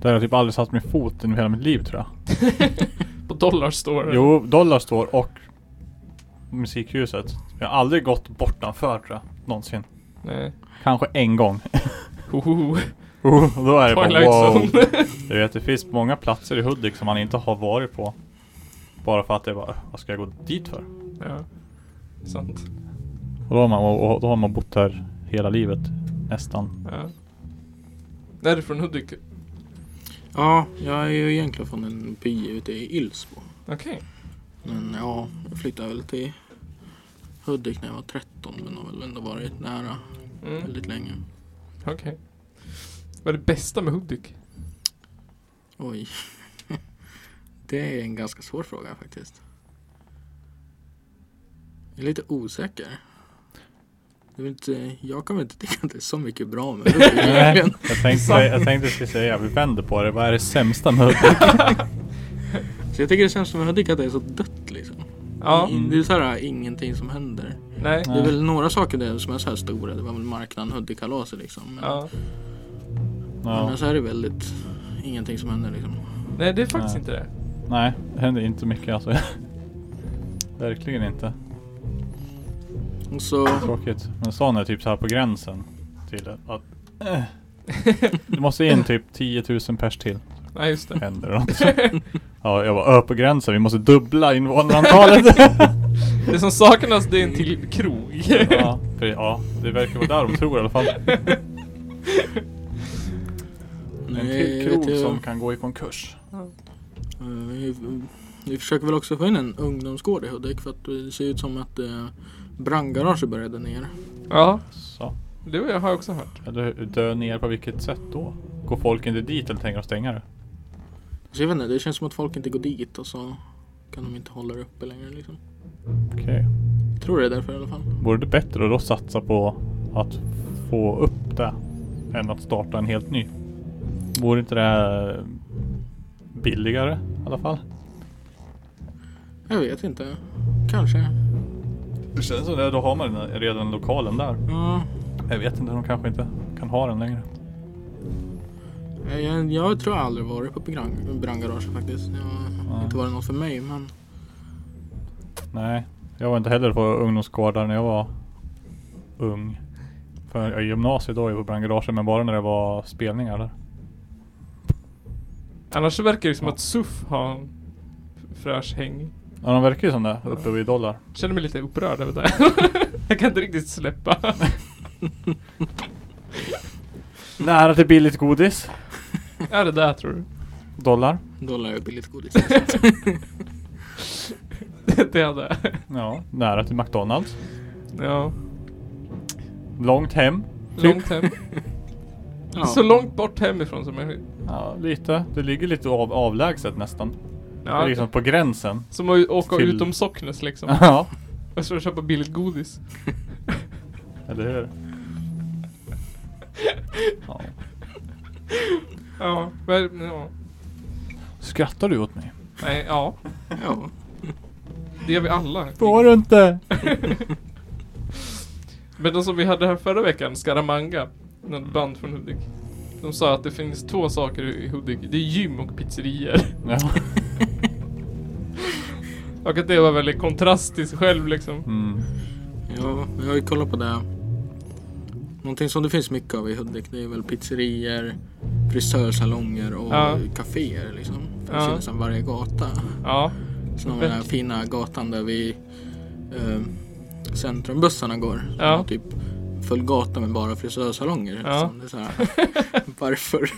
Speaker 1: Där har jag typ aldrig satt min fot i hela mitt liv tror jag.
Speaker 2: På Dollar står det.
Speaker 1: Jo, Dollar står och musikhuset. Jag har aldrig gått bortanför tror jag. Någonsin.
Speaker 2: Nej.
Speaker 1: Kanske en gång.
Speaker 2: Hoho.
Speaker 1: Oh, och då är det
Speaker 2: Twilight
Speaker 1: bara wow.
Speaker 2: Zone.
Speaker 1: Du vet, det finns många platser i Hudik som man inte har varit på. Bara för att det var, vad ska jag gå dit för?
Speaker 2: ja. Sant.
Speaker 1: Och då har man, och då har man bott här hela livet. Nästan.
Speaker 2: Ja. Är du från Hudik?
Speaker 3: Ja, jag är ju egentligen från en by ute i Ilsbo.
Speaker 2: Okej.
Speaker 3: Men ja, jag flyttade väl till Hudik när jag var 13 men har väl ändå varit nära
Speaker 2: Mm.
Speaker 3: väldigt länge.
Speaker 2: Okej. Vad är det bästa med Hudik?
Speaker 3: Oj. Det är en ganska svår fråga faktiskt. Jag är lite osäker. Jag, vet inte, jag kan väl inte tycka att det är så mycket bra med det.
Speaker 1: Nej,
Speaker 3: egentligen.
Speaker 1: jag tänkte, jag tänkte precis säga, vi vänder på det. Vad är det sämsta med Hudik?
Speaker 3: Så jag tycker det känns som att jag tycker att det är så dött liksom.
Speaker 2: Ja.
Speaker 3: In- Det är så här ingenting som händer.
Speaker 2: Nej.
Speaker 1: Nej.
Speaker 3: Det är väl några saker där som är så här stora. Det var väl marknaden, Hudikkalaset liksom. Men,
Speaker 2: Ja.
Speaker 1: Ja.
Speaker 3: men så är det väldigt ingenting som händer liksom.
Speaker 2: Nej, det är faktiskt
Speaker 1: Nej.
Speaker 2: inte det.
Speaker 1: Nej, det händer inte mycket alltså. Verkligen inte.
Speaker 3: Och så,
Speaker 1: Tråkigt. Men sån är typ så här på gränsen till att... eh. Du måste in typ 10 000 pers till.
Speaker 2: Nej, just det.
Speaker 1: Händer det något. Ja, jag var på gränsen. Vi måste dubbla invånarantalet.
Speaker 2: Det som saknas det är en till krog.
Speaker 1: ja, för, ja, det verkar vara där de tror i alla fall. En till
Speaker 3: Nej, vet
Speaker 1: krog
Speaker 3: jag-
Speaker 1: som kan gå i konkurs.
Speaker 3: Eh, Vi, vi försöker väl också få in en ungdomsgård i Hudik för att det ser ut som att eh, brandgaraget började ner.
Speaker 2: Ja,
Speaker 1: Så.
Speaker 2: det har jag har jag också hört.
Speaker 1: Eller dö ner på vilket sätt då? Går folk inte dit eller tänker de stänga det?
Speaker 3: Så jag vet inte, det känns som att folk inte går dit och så kan de inte hålla det uppe längre liksom.
Speaker 1: Okej.
Speaker 3: Jag tror det är därför i alla fall.
Speaker 1: Vore det bättre att då satsa på att få upp det än att starta en helt ny? Vore inte det billigare i alla fall?
Speaker 3: Jag vet inte. Kanske.
Speaker 1: Det känns som det. Då har man redan lokalen där.
Speaker 3: Ja,
Speaker 1: Jag vet inte. De kanske inte kan ha den längre.
Speaker 3: Eh, jag, jag tror jag aldrig varit på brand, brandgaraget faktiskt. Det har
Speaker 1: Nej.
Speaker 3: inte varit något för mig men
Speaker 1: Nej, jag var inte heller på ungdomsgård där när jag var ung. För i gymnasiet då var jag på brandgaragen men bara när det var spelningar där.
Speaker 2: Annars så verkar det som
Speaker 1: Ja.
Speaker 2: att SUF har en f- fräsch häng.
Speaker 1: Ja de verkar ju som det uppe vid Dollar.
Speaker 2: Känner mig lite upprörd över det. jag kan inte riktigt släppa.
Speaker 1: Nära till billigt godis.
Speaker 2: Är det där tror du?
Speaker 1: Dollar.
Speaker 3: då lär jag billigt godis.
Speaker 2: det är det.
Speaker 1: Ja, nära till McDonalds.
Speaker 2: Ja.
Speaker 1: Långt hem. Typ.
Speaker 2: Långt hem.
Speaker 3: Ja.
Speaker 2: Så långt bort hemifrån som möjligt.
Speaker 1: Ja, lite. Det ligger lite av, avlägset nästan. det
Speaker 2: Ja,
Speaker 1: är liksom på gränsen.
Speaker 2: Som att åka
Speaker 1: Till-
Speaker 2: utom Socknes liksom.
Speaker 1: Ja,
Speaker 2: Och så köpa billigt godis.
Speaker 1: eller hur? Ja.
Speaker 2: Ja, men, ja.
Speaker 1: Skrattar du åt mig?
Speaker 2: Nej, ja.
Speaker 3: Ja.
Speaker 2: Det gör vi alla.
Speaker 1: Får du inte?
Speaker 2: Men de som vi hade här förra veckan, Scaramanga,
Speaker 1: Mm.
Speaker 2: något band från Hudik. De sa att det finns två saker i Hudik. Det är gym och pizzerior.
Speaker 1: Ja.
Speaker 2: Och att det var väldigt kontrast till sig själv liksom.
Speaker 1: Mm.
Speaker 3: Ja, jag har ju kollat på det. Någonting som det finns mycket av i Hudik det är väl pizzerier, frisörsalonger och
Speaker 2: Ja.
Speaker 3: kaféer liksom. Det
Speaker 2: Ja.
Speaker 3: finns ju nästan varje gata.
Speaker 2: Ja.
Speaker 3: Sen har vi den här fina gatan där vi eh, centrumbussarna går. Som
Speaker 2: Ja.
Speaker 3: har Typ full gata med bara frisörsalonger.
Speaker 2: Ja.
Speaker 3: Liksom. Det är så här, varför?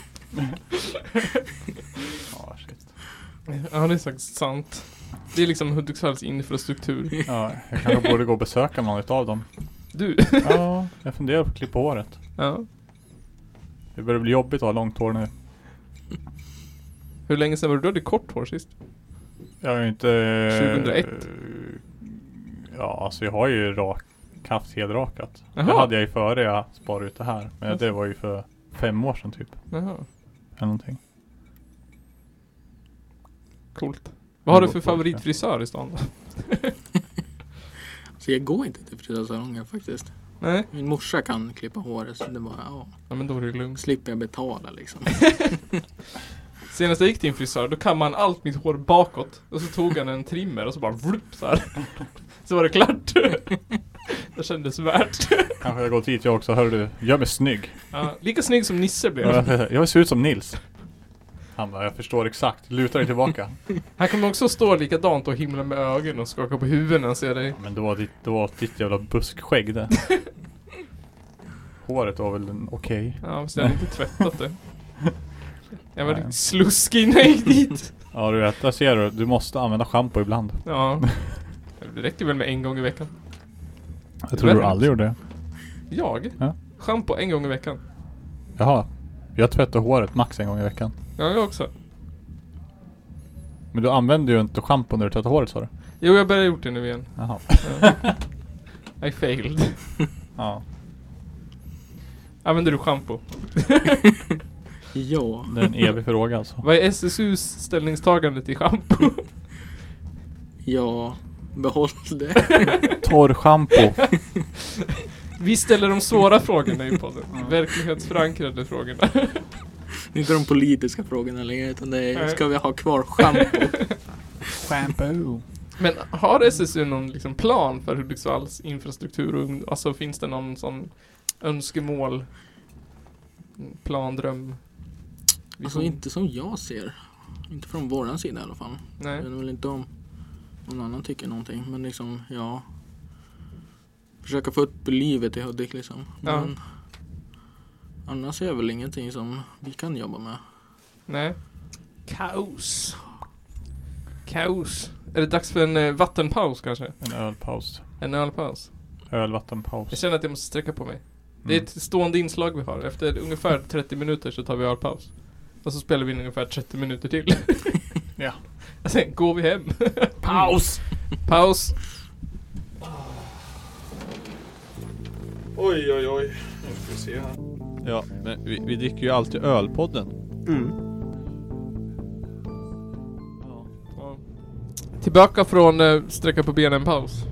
Speaker 1: Ja, shit.
Speaker 2: Ja, det är faktiskt sant. Det är liksom Hudiksvalls infrastruktur.
Speaker 1: Ja, jag kanske borde gå och besöka någon utav dem.
Speaker 2: Du.
Speaker 1: Ja, jag funderar på att klippa håret.
Speaker 2: Ja.
Speaker 1: Det börjar bli jobbigt att ha långt hår nu.
Speaker 2: Hur länge sedan var det du hade kort hår sist?
Speaker 1: Jag har ju inte... eh,
Speaker 2: 2001?
Speaker 1: Ja, alltså jag har ju rak, haft helrakat. Det
Speaker 2: Jaha.
Speaker 1: hade jag ju före jag sparade ut det här. Men det var ju för fem år sedan typ.
Speaker 2: Jaha.
Speaker 1: Eller någonting.
Speaker 2: Coolt. Vad har
Speaker 1: Det
Speaker 2: du för
Speaker 1: går på,
Speaker 2: favoritfrisör i stan då?
Speaker 3: Så Alltså, jag går inte till frisörsalonger faktiskt.
Speaker 2: Nej?
Speaker 3: Min morsa kan klippa håret så det bara, ja,
Speaker 2: Ja men då är det lugnt.
Speaker 3: slipper jag betala liksom.
Speaker 2: Senast jag gick till en frisör, då kammade han allt mitt hår bakåt. Och så tog han en trimmer och så bara vrupp så här. Så var det klart. Det kändes värt.
Speaker 1: Kanske jag går dit jag också. Hör du, gör mig snygg.
Speaker 2: Ja, lika snygg som Nisse blev.
Speaker 1: Jag, jag ser ut som Nils. Han bara, jag förstår exakt. Luta dig tillbaka.
Speaker 2: Han kommer också stå likadant och himla med ögonen och skaka på huvudet när han ser dig.
Speaker 1: Ja, Men det var ditt, det var ditt jävla buskskägg det. Håret var väl en- okej.
Speaker 2: Ja, fast jag hade inte tvättat det. Jag var
Speaker 1: Nej.
Speaker 2: riktigt sluskig när jag gick dit.
Speaker 1: Ja du vet, där ser du. Du måste använda schampo ibland.
Speaker 2: Ja. Det räcker väl med en gång i veckan.
Speaker 1: Jag
Speaker 2: tror du aldrig
Speaker 1: gjorde det.
Speaker 2: Jag?
Speaker 1: Ja.
Speaker 2: Shampoo en gång i veckan.
Speaker 1: Jaha. Jag tvättar håret max en gång i veckan.
Speaker 2: Ja, jag också.
Speaker 1: Men du använder ju inte schampo när du tvättar håret sa du?
Speaker 2: Jo, jag börjar gjort det nu igen.
Speaker 1: Jaha.
Speaker 2: I failed.
Speaker 1: Ja.
Speaker 2: Använder du shampoo?
Speaker 3: ja.
Speaker 1: Det är en evig fråga alltså.
Speaker 2: Vad är SSUs ställningstagande till shampoo?
Speaker 3: Ja, behåll det.
Speaker 1: Torrschampo.
Speaker 2: Vi ställer de svåra frågorna i podden. Verklighetsförankrade frågorna.
Speaker 3: Inte de politiska frågorna längre utan det är,
Speaker 2: Nej.
Speaker 3: ska vi ha kvar schampo?
Speaker 1: Shampoo.
Speaker 2: Men har SSU någon liksom plan för Hudiksvalls infrastruktur? och ung- Alltså finns det någon sån önskemål? Plan, dröm? Vision?
Speaker 3: Alltså inte som jag ser. Inte från våran sida i alla fall. Jag
Speaker 2: Nej.
Speaker 3: vet väl inte om någon annan tycker någonting men liksom ja. Försöka få upp livet i Hudik liksom.
Speaker 2: Ja.
Speaker 3: Men annars är det väl ingenting som vi kan jobba med.
Speaker 2: Nej. Kaos. Kaos. Är det dags för en eh, vattenpaus kanske?
Speaker 1: En ölpaus.
Speaker 2: En ölpaus? Jag
Speaker 1: Ölvattenpaus.
Speaker 2: känner att jag måste sträcka på mig.
Speaker 1: Mm.
Speaker 2: Det är ett stående inslag vi har. Efter ungefär 30 minuter så tar vi ölpaus. Och så spelar vi in ungefär 30 minuter till.
Speaker 1: Ja.
Speaker 2: Och Sen går vi hem.
Speaker 1: Paus!
Speaker 2: Paus.
Speaker 1: Oj oj oj. Nu ska vi se här. Ja, men vi, vi dricker ju alltid ölpodden.
Speaker 2: Ja. Tillbaka från eh, sträcka på benen-paus.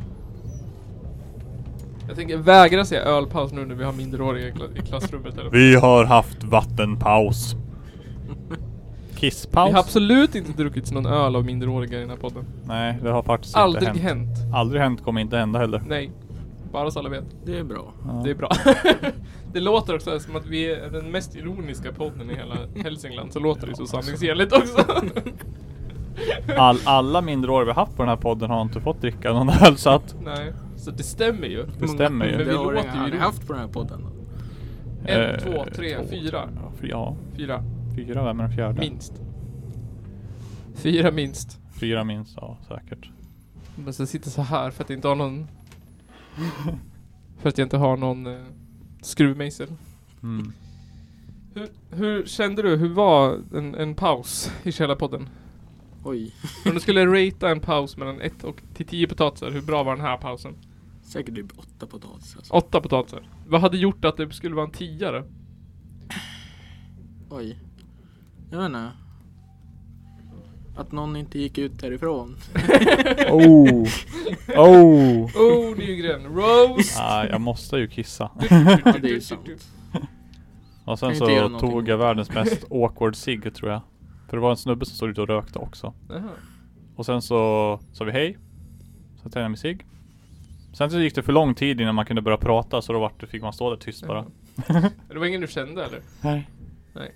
Speaker 2: Jag tänker vägra säga ölpaus nu när vi har minderåriga i, kla- i klassrummet. Eller?
Speaker 1: Vi har haft vattenpaus. Kisspaus?
Speaker 2: Vi har absolut inte druckit någon öl av minderåriga i den här podden.
Speaker 1: Nej, det har faktiskt
Speaker 2: Aldrig
Speaker 1: inte hänt.
Speaker 2: hänt.
Speaker 1: Aldrig hänt kommer inte hända heller.
Speaker 2: Nej. Bara så alla vet.
Speaker 3: Det är bra.
Speaker 2: Det är bra. det låter också som att vi är den mest ironiska podden i hela Hälsingland. Så låter det så sanningsenligt också.
Speaker 1: All, alla minderåriga vi har haft på den här podden har inte fått dricka någon öl så att
Speaker 2: Nej. Så det stämmer ju.
Speaker 1: det stämmer
Speaker 2: Men
Speaker 1: ju.
Speaker 2: vi
Speaker 3: det har
Speaker 2: låter ju
Speaker 3: vi aldrig
Speaker 2: ironiskt.
Speaker 3: haft på den här podden. Då.
Speaker 2: En,
Speaker 1: Eh,
Speaker 2: två, tre, fyra.
Speaker 1: Ja, fy- Ja,
Speaker 2: Fyra.
Speaker 1: fyra. Vem är den fjärde?
Speaker 2: Minst. Fyra minst.
Speaker 1: Fyra minst, ja säkert.
Speaker 2: Men så sitter så här för att jag inte har någon... för att jag inte har någon eh, skruvmejsel.
Speaker 1: Mm.
Speaker 2: Hur, hur kände du? Hur var en, en paus i Källarpodden?
Speaker 3: Oj,
Speaker 2: Om du skulle ratea en paus mellan 1 och till 10 potatisar, hur bra var den här pausen?
Speaker 3: säkert typ åtta potatisar. Alltså.
Speaker 2: 8 potatisar. Vad hade gjort att det skulle vara en 10 då?
Speaker 3: Oj. Jag vet inte. Att någon inte gick ut därifrån.
Speaker 1: Oh! Oh!
Speaker 2: Oh Nygren, Rose!
Speaker 1: Ah, jag måste ju kissa.
Speaker 3: Ja, det är ju sant.
Speaker 1: Och
Speaker 3: Kan
Speaker 1: sen
Speaker 3: inte
Speaker 1: så
Speaker 3: göra
Speaker 1: tog
Speaker 3: någonting åt det.
Speaker 1: jag världens mest awkward cigg tror jag. För det var en snubbe som stod ute och rökte också.
Speaker 2: Jaha.
Speaker 1: Och sen så sa vi hej. Sen tände jag min cigg. Sen så gick det för lång tid innan man kunde börja prata så då vart det, fick man stå där tyst bara.
Speaker 2: Det var ingen du kände eller?
Speaker 1: Nej.
Speaker 2: Nej.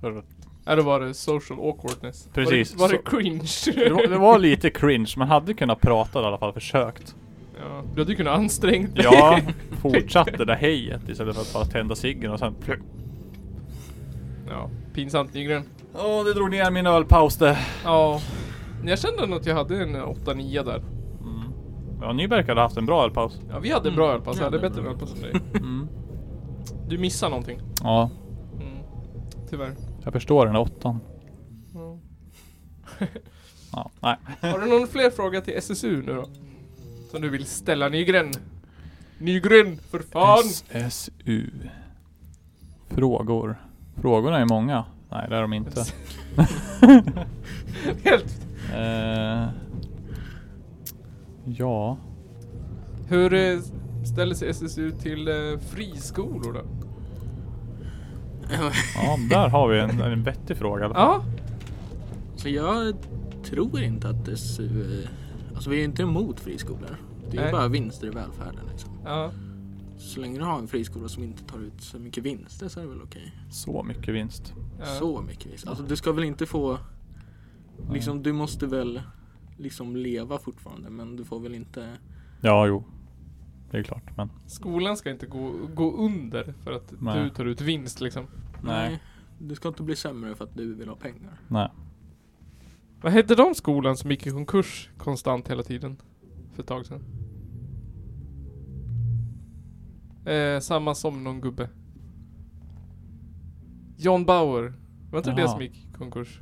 Speaker 1: Så det-
Speaker 2: Ja, då var det social awkwardness.
Speaker 1: Precis.
Speaker 2: Var det,
Speaker 1: Så-
Speaker 2: var det cringe?
Speaker 1: Det var, det var lite cringe, man hade kunnat prata i alla fall, försökt.
Speaker 2: ja, du hade ju kunnat ansträngt dig.
Speaker 1: Ja, fortsatt det där hejet istället för att bara tända ciggen och sen...
Speaker 2: ja. Pinsamt Nygren.
Speaker 1: Åh, det drog ner min ölpaus det.
Speaker 2: Ja. Jag kände nog att jag hade en 8-9 där.
Speaker 1: Mm. Ja, Nyberg hade haft en bra ölpaus.
Speaker 2: Ja, vi hade en bra
Speaker 3: Mm.
Speaker 2: ölpass.
Speaker 3: Ja,
Speaker 2: Jag hade
Speaker 3: det är
Speaker 2: bättre
Speaker 3: bra.
Speaker 2: ölpass än dig.
Speaker 1: Mm.
Speaker 2: Du missar någonting.
Speaker 1: Ja,
Speaker 2: Mm. Tyvärr.
Speaker 1: jag förstår den där åttan.
Speaker 2: Ja.
Speaker 1: Ja, nej.
Speaker 2: Har du någon fler fråga till SSU nu då? Som du vill ställa Nygren? Nygren, för fan!
Speaker 1: SSU. Frågor. Frågorna är många. Nej, det är de inte.
Speaker 2: Helt.
Speaker 1: Eh, ja.
Speaker 2: Hur eh, ställer sig SSU till eh, friskolor då?
Speaker 1: ja, där har vi en, en vettig fråga i alla fall.
Speaker 2: Ja,
Speaker 3: Så jag tror inte att det... s- eh, Alltså vi är inte emot friskolor. Det är
Speaker 2: Nej.
Speaker 3: ju bara vinster i välfärden. Liksom.
Speaker 2: ja.
Speaker 3: Så länge du har en friskola som inte tar ut så mycket vinster så är det väl okej.
Speaker 1: Så mycket vinst.
Speaker 2: ja.
Speaker 3: Så mycket vinster. Alltså du ska väl inte få... Liksom du måste väl liksom leva fortfarande men du får väl inte...
Speaker 1: Ja, jo. Det är klart, men.
Speaker 2: Skolan ska inte gå, gå under för att
Speaker 1: Nej.
Speaker 2: du tar ut vinst liksom.
Speaker 1: Nej.
Speaker 3: Du ska inte bli sämre för att du vill ha pengar.
Speaker 1: Nej.
Speaker 2: Vad hette de skolan som gick i konkurs konstant hela tiden? För ett tag sedan. Eh, samma som någon gubbe. John Bauer. Var inte det det
Speaker 1: Jaha.
Speaker 2: som gick i konkurs?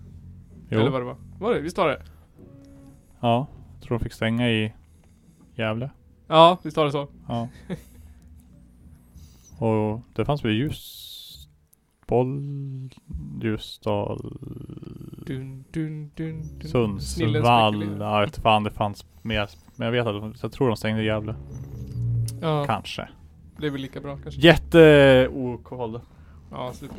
Speaker 1: Jo.
Speaker 2: Eller vad det var? Var det? Visst var det?
Speaker 1: Ja. Tror de fick stänga i Gävle.
Speaker 2: Ja, visst var det så?
Speaker 1: Ja. Och det fanns väl ljus... Boll... Ljusdal...
Speaker 2: Dun, dun, dun, dun. Snillen
Speaker 1: Sundsvall.
Speaker 2: spekulerar.
Speaker 1: Ja, jag vet fan det fanns mer. Men jag vet att de, jag tror de stängde i Gävle.
Speaker 2: Ja,
Speaker 1: Kanske.
Speaker 2: det är väl lika bra kanske.
Speaker 1: Jätte... OK.
Speaker 2: Ja, super.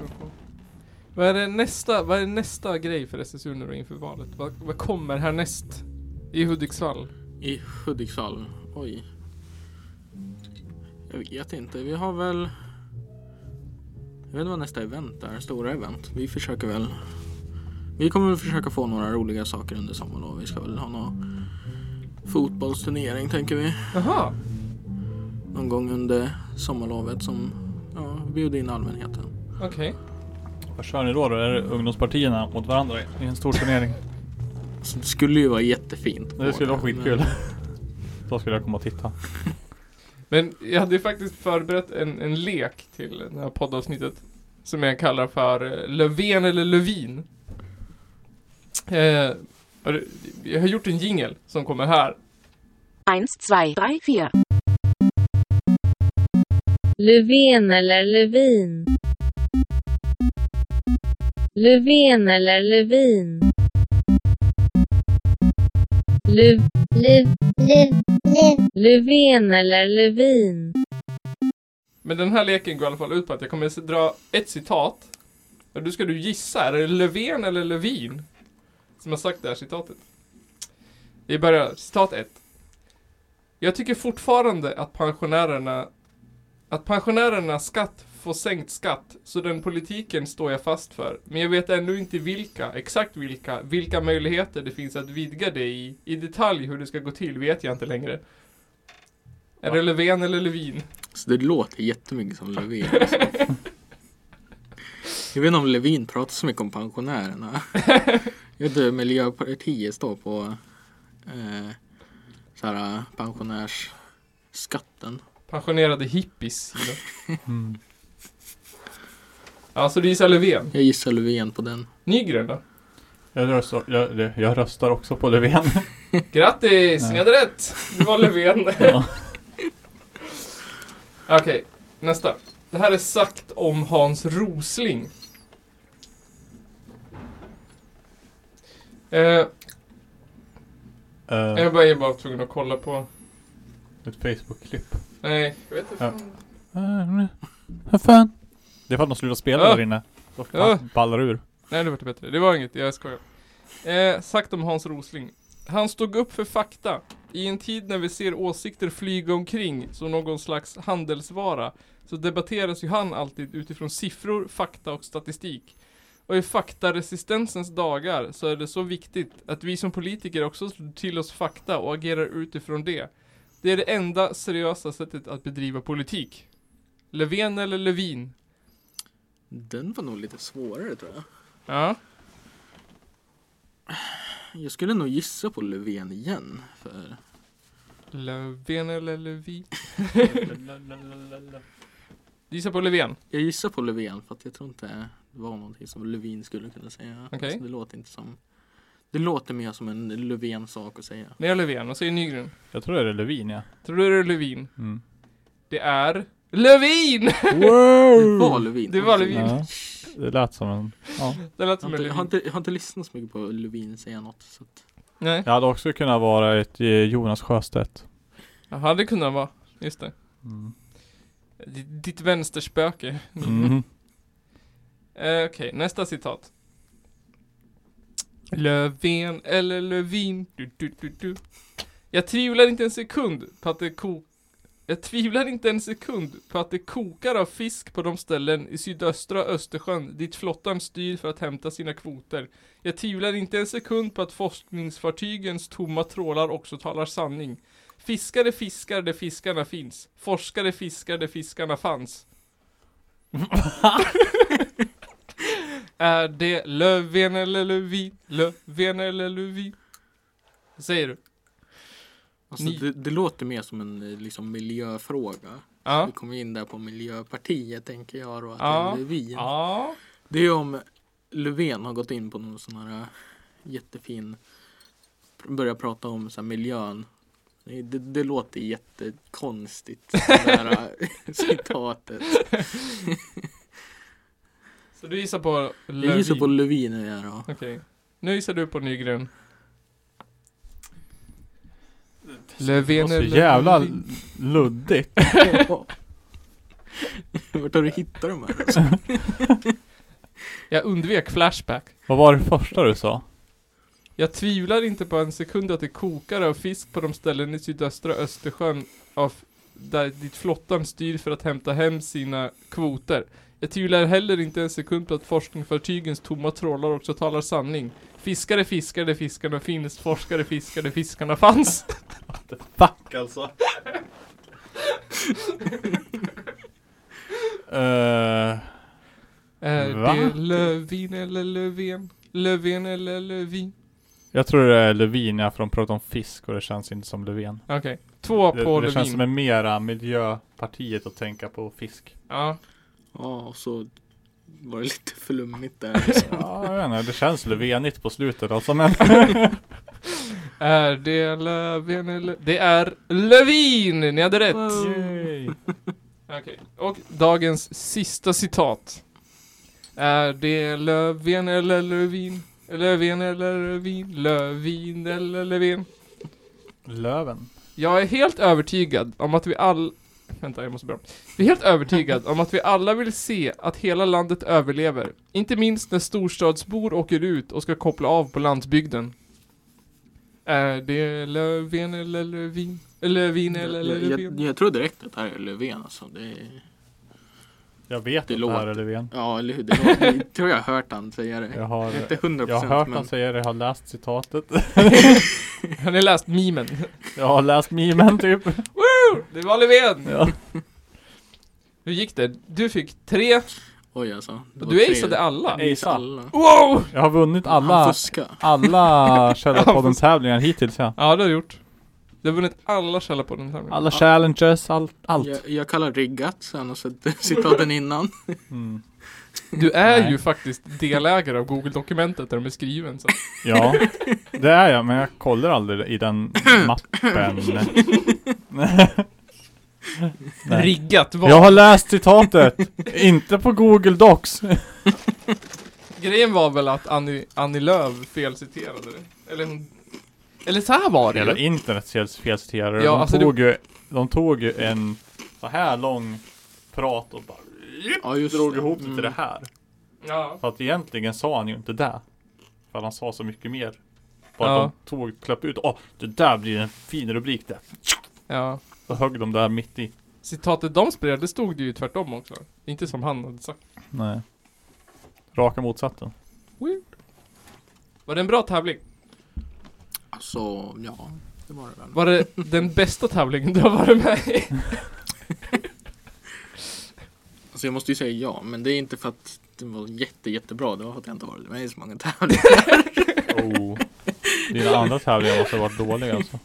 Speaker 2: Vad är, det nästa, vad är nästa grej för SSU nu då inför valet? Vad, vad kommer härnäst? I Hudiksvall?
Speaker 3: I Hudiksvall, oj. Jag vet inte, vi har väl... Jag vet inte vad nästa event är, stora event. Vi försöker väl... Vi kommer väl försöka få några roliga saker under sommaren då. Vi ska väl ha någon fotbollsturnering tänker vi.
Speaker 2: Jaha!
Speaker 3: Någon gång under sommarlovet som ja, bjuder in allmänheten.
Speaker 2: Okej.
Speaker 1: Vad kör ni då? då? Är det ungdomspartierna mot varandra i en stor turnering?
Speaker 3: Så Alltså, det skulle ju vara jättefint.
Speaker 1: Det skulle vara
Speaker 3: Men-
Speaker 1: skitkul. Då skulle jag komma och titta.
Speaker 2: Men jag hade ju faktiskt förberett en, en lek till det här poddavsnittet. Som jag kallar för eh, Löfven eller Lövin. Eh, har du- jag har gjort en jingel som kommer här.
Speaker 4: Eins, zwei, drei, vier.
Speaker 5: Löfven eller Lövin? Löfven eller Lövin? Löv... Löv... Löv... Löfven eller Lövin?
Speaker 2: Men den här leken går i alla fall ut på att jag kommer dra ett citat. Och du ska du gissa, är det Löfven eller Lövin? Som har sagt det här citatet. Vi börjar, citat 1. Jag tycker fortfarande att pensionärerna att pensionärernas skatt får sänkt skatt, så den politiken står jag fast för. Men jag vet ännu inte vilka, exakt vilka, vilka möjligheter det finns att vidga det i. I detalj hur det ska gå till vet jag inte längre. Är det Löfven eller Lövin?
Speaker 3: Så det låter jättemycket som Levin. Alltså. Jag vet inte om Levin pratar så mycket om pensionärerna. Jag vet inte, Miljöpartiet står på eh, så här, pensionärsskatten.
Speaker 2: Pensionerade hippies.
Speaker 1: Mm.
Speaker 2: Ja, så du gissar Löfven.
Speaker 3: Jag gissar Löfven på den.
Speaker 2: Nygren då?
Speaker 1: Jag röstar, jag, jag röstar också på Löfven.
Speaker 2: Grattis,
Speaker 1: Nej.
Speaker 2: ni hade rätt! Det var Löfven.
Speaker 1: Ja.
Speaker 2: Okej, nästa. Det här är sagt om Hans Rosling. Eh,
Speaker 1: Eh,
Speaker 2: jag var jag var tvungen att kolla på...
Speaker 1: ett Facebook-klipp.
Speaker 2: Nej, jag vet inte.
Speaker 1: Ja.
Speaker 2: fan.
Speaker 1: Vad fan? Det är för att de slutar spela
Speaker 2: Ja.
Speaker 1: där inne. Då
Speaker 2: Ja.
Speaker 1: fan ballar ur.
Speaker 2: Nej, det var bättre. Det var inget, jag skojar. Eh, sagt om Hans Rosling. Han stod upp för fakta. I en tid när vi ser åsikter flyga omkring som någon slags handelsvara så debatteras ju han alltid utifrån siffror, fakta och statistik. Och i faktaresistensens dagar så är det så viktigt att vi som politiker också slår till oss fakta och agerar utifrån det. Det är det enda seriösa sättet att bedriva politik. Löfven eller Levin?
Speaker 3: Den var nog lite svårare tror jag.
Speaker 2: Ja.
Speaker 3: Jag skulle nog gissa på Löfven igen. För...
Speaker 2: Löfven eller Levin? Gissa på Löfven.
Speaker 3: Jag gissar på Löfven för att jag tror inte det var någonting som Löfven skulle kunna säga.
Speaker 2: Okej.
Speaker 3: Så det låter inte som... Det låter mer som en Löfven-sak att säga.
Speaker 2: När är Löfven? Vad säger Nygren?
Speaker 1: Jag tror det är Lövin ja.
Speaker 2: Tror du det är Lövin?
Speaker 1: Mm.
Speaker 2: Det är Lövin!
Speaker 3: Det
Speaker 1: Oh.
Speaker 3: var Löfven.
Speaker 2: Det var Löfven.
Speaker 1: ja. Det lät som en... Ja.
Speaker 2: Det lät
Speaker 3: Jag
Speaker 2: som
Speaker 3: har,
Speaker 2: en
Speaker 3: inte, jag, har
Speaker 2: Lövin.
Speaker 3: inte, jag har inte lyssnat så mycket på Löfven säga något. Så att...
Speaker 2: Nej,
Speaker 1: Det hade också kunnat vara ett eh, Jonas Sjöstedt.
Speaker 2: Jaha, det kunde han vara. Just det.
Speaker 1: Mm.
Speaker 2: D- Ditt vänsterspöke.
Speaker 1: Mm.
Speaker 2: Eh, Okej, nästa citat. Löfven eller Lövin. Du, du, du, du. Jag tvivlar inte en sekund på att det ko- Jag tvivlar inte en sekund på att det kokar av fisk på de ställen i sydöstra Östersjön dit flottan styr för att hämta sina kvoter. Jag tvivlar inte en sekund på att forskningsfartygens tomma trålar också talar sanning. Fiskare fiskar där fiskarna finns. Forskare fiskar där fiskarna fanns. Är det Löfven eller Lövin? Löfven eller Lövin? Vad säger du?
Speaker 3: Alltså,
Speaker 2: Ni-
Speaker 3: det, det låter mer som en eh, liksom, miljöfråga.
Speaker 2: Ja.
Speaker 3: Vi kommer in där på Miljöpartiet tänker jag då. Att
Speaker 2: Ja.
Speaker 3: det är Löfven.
Speaker 2: Ja.
Speaker 3: Det är om Löfven har gått in på någon sån här eh, jättefin, börjar prata om så här miljön. Det, det, det låter jättekonstigt, det där eh, citatet.
Speaker 2: Så du gissar på Lövin?
Speaker 3: Jag gissar på Löfven är jag då.
Speaker 2: Okej. Nu gissar du på Nygren. Löfven
Speaker 1: Det var
Speaker 2: eller
Speaker 1: så jävla
Speaker 2: Lövin?
Speaker 1: luddigt.
Speaker 3: Vart har du hittat de här? Alltså?
Speaker 2: Jag undvek Flashback.
Speaker 1: Vad var det första du sa?
Speaker 2: Jag tvivlar inte på en sekund att det kokar av fisk på de ställen i sydöstra Östersjön av där dit flottan styr för att hämta hem sina kvoter. Jag tvivlar heller inte en sekund på att forskningsfartygens tomma trålar också talar sanning. Fiskare fiskar där fiskarna finns, forskare fiskar där fiskarna fanns.
Speaker 1: Fuck alltså. Eh,
Speaker 2: Är
Speaker 1: Va?
Speaker 2: det Lövin eller Löfven? Löfven eller Lövin?
Speaker 1: jag tror det är Lövin ja, för de pratar om fisk och det känns inte som Löfven.
Speaker 2: Okej. Två
Speaker 1: Det,
Speaker 2: på
Speaker 1: det känns som
Speaker 2: Lövin.
Speaker 1: en mera Miljöpartiet att tänka på fisk.
Speaker 2: Ja.
Speaker 3: Ja, och så var det lite flummigt där. Liksom.
Speaker 1: Ja, jag vet inte, det känns Löfvenigt på slutet alltså men
Speaker 2: Är det Löfven eller... Det är Lövin! Ni hade rätt!
Speaker 1: Yay.
Speaker 2: Okej, och dagens sista citat. Är det Löfven eller Lövin? Löfven eller Lövin? Lövin eller Löfven?
Speaker 1: Löven.
Speaker 2: Jag är helt övertygad om att vi all... Vänta, jag måste börja om. Jag är helt övertygad om att vi alla vill se att hela landet överlever. Inte minst när storstadsbor åker ut och ska koppla av på landsbygden. Är det Löfven eller Lövin? Löfven eller
Speaker 3: Jag, jag,
Speaker 2: Löfven?
Speaker 3: jag tror direkt att det här är Löfven alltså. Det är...
Speaker 1: Jag vet
Speaker 3: Det
Speaker 1: att det här
Speaker 3: låter-
Speaker 1: är Löfven.
Speaker 3: Ja, eller hur? Det låter... Jag tror jag har hört han säga det.
Speaker 1: Jag har,
Speaker 3: Inte hundra
Speaker 1: jag har
Speaker 3: procent.
Speaker 1: hört
Speaker 3: men...
Speaker 1: han säga det, jag har läst citatet.
Speaker 2: Har ni läst memen?
Speaker 1: Jag har läst memen typ.
Speaker 2: Det var Löfven!
Speaker 1: Ja.
Speaker 2: Hur gick det? Du fick tre,
Speaker 3: Oj alltså. det
Speaker 2: och
Speaker 3: var
Speaker 2: du
Speaker 3: tre-
Speaker 2: aceade alla.
Speaker 1: Nej.
Speaker 3: Aceade alla.
Speaker 2: Wow!
Speaker 1: Jag har vunnit
Speaker 3: Han
Speaker 1: alla,
Speaker 3: fuskar.
Speaker 1: alla Källarpodden-tävlingar hittills ja.
Speaker 2: Ja, det har du gjort. Du har vunnit alla källor på den här.
Speaker 1: Alla challenges, allt. allt.
Speaker 3: Jag, jag kallar riggat sen och sett citaten innan.
Speaker 1: Mm.
Speaker 2: Du är
Speaker 1: Nej.
Speaker 2: ju faktiskt delägare av Google-dokumentet där de är skriven. Så.
Speaker 1: Ja, det är jag, men jag kollar aldrig i den mappen. Nej.
Speaker 2: Riggat val.
Speaker 1: Jag har läst citatet, inte på Google Docs.
Speaker 2: Grejen var väl att Annie, Annie Lööf felciterade det. Eller hon... Eller så här var det
Speaker 1: Hela
Speaker 2: ju.
Speaker 1: internet fel- felciterade.
Speaker 2: Ja,
Speaker 1: de,
Speaker 2: alltså
Speaker 1: tog ju, de tog ju en så här lång prat och bara
Speaker 3: Ja just
Speaker 1: drog
Speaker 3: det.
Speaker 1: ihop det till
Speaker 3: Mm.
Speaker 1: det här.
Speaker 2: Ja.
Speaker 1: För att egentligen sa han ju inte det. För han sa så mycket mer Bara
Speaker 2: Ja.
Speaker 1: de tog, klappade ut. Åh, det där blir en fin rubrik där.
Speaker 2: Ja.
Speaker 1: Så högg de där mitt i.
Speaker 2: Citatet de spred, det stod det ju tvärtom också. Inte som han hade sagt.
Speaker 1: Nej. Raka motsatsen.
Speaker 2: Var det en bra tävling?
Speaker 3: Alltså, ja. Det var det väl.
Speaker 2: Var det den bästa tävlingen du har varit med i?
Speaker 3: Alltså jag måste ju säga ja, men det är inte för att det var jätte, jättebra. Det var för att jag inte har varit med i så många tävlingar.
Speaker 1: Oh. Dina andra tävlingar måste ha varit dåliga alltså.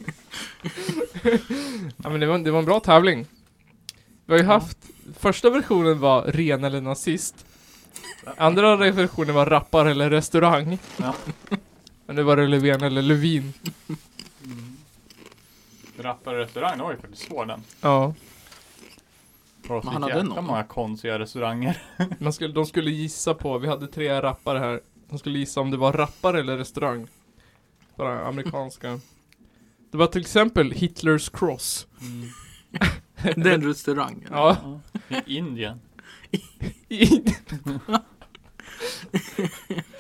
Speaker 2: Ja men det var, det var en bra tävling. Vi har ju haft, första versionen var ren eller nazist. Andra versionen var rappar eller restaurang.
Speaker 1: Ja.
Speaker 2: Men nu var det Löfven eller Lövin.
Speaker 1: Rappare restaurang, det var ju faktiskt svår den.
Speaker 2: Ja.
Speaker 1: För
Speaker 3: Men han hade någon.
Speaker 1: många konstiga restauranger.
Speaker 2: Man skulle, de skulle gissa på, vi hade tre rappare här. De skulle gissa om det var rappare eller restaurang. Bara amerikanska. Det var till exempel Hitlers Cross.
Speaker 1: Mm.
Speaker 3: Den restaurangen.
Speaker 2: Ja.
Speaker 1: I Indien.
Speaker 2: I-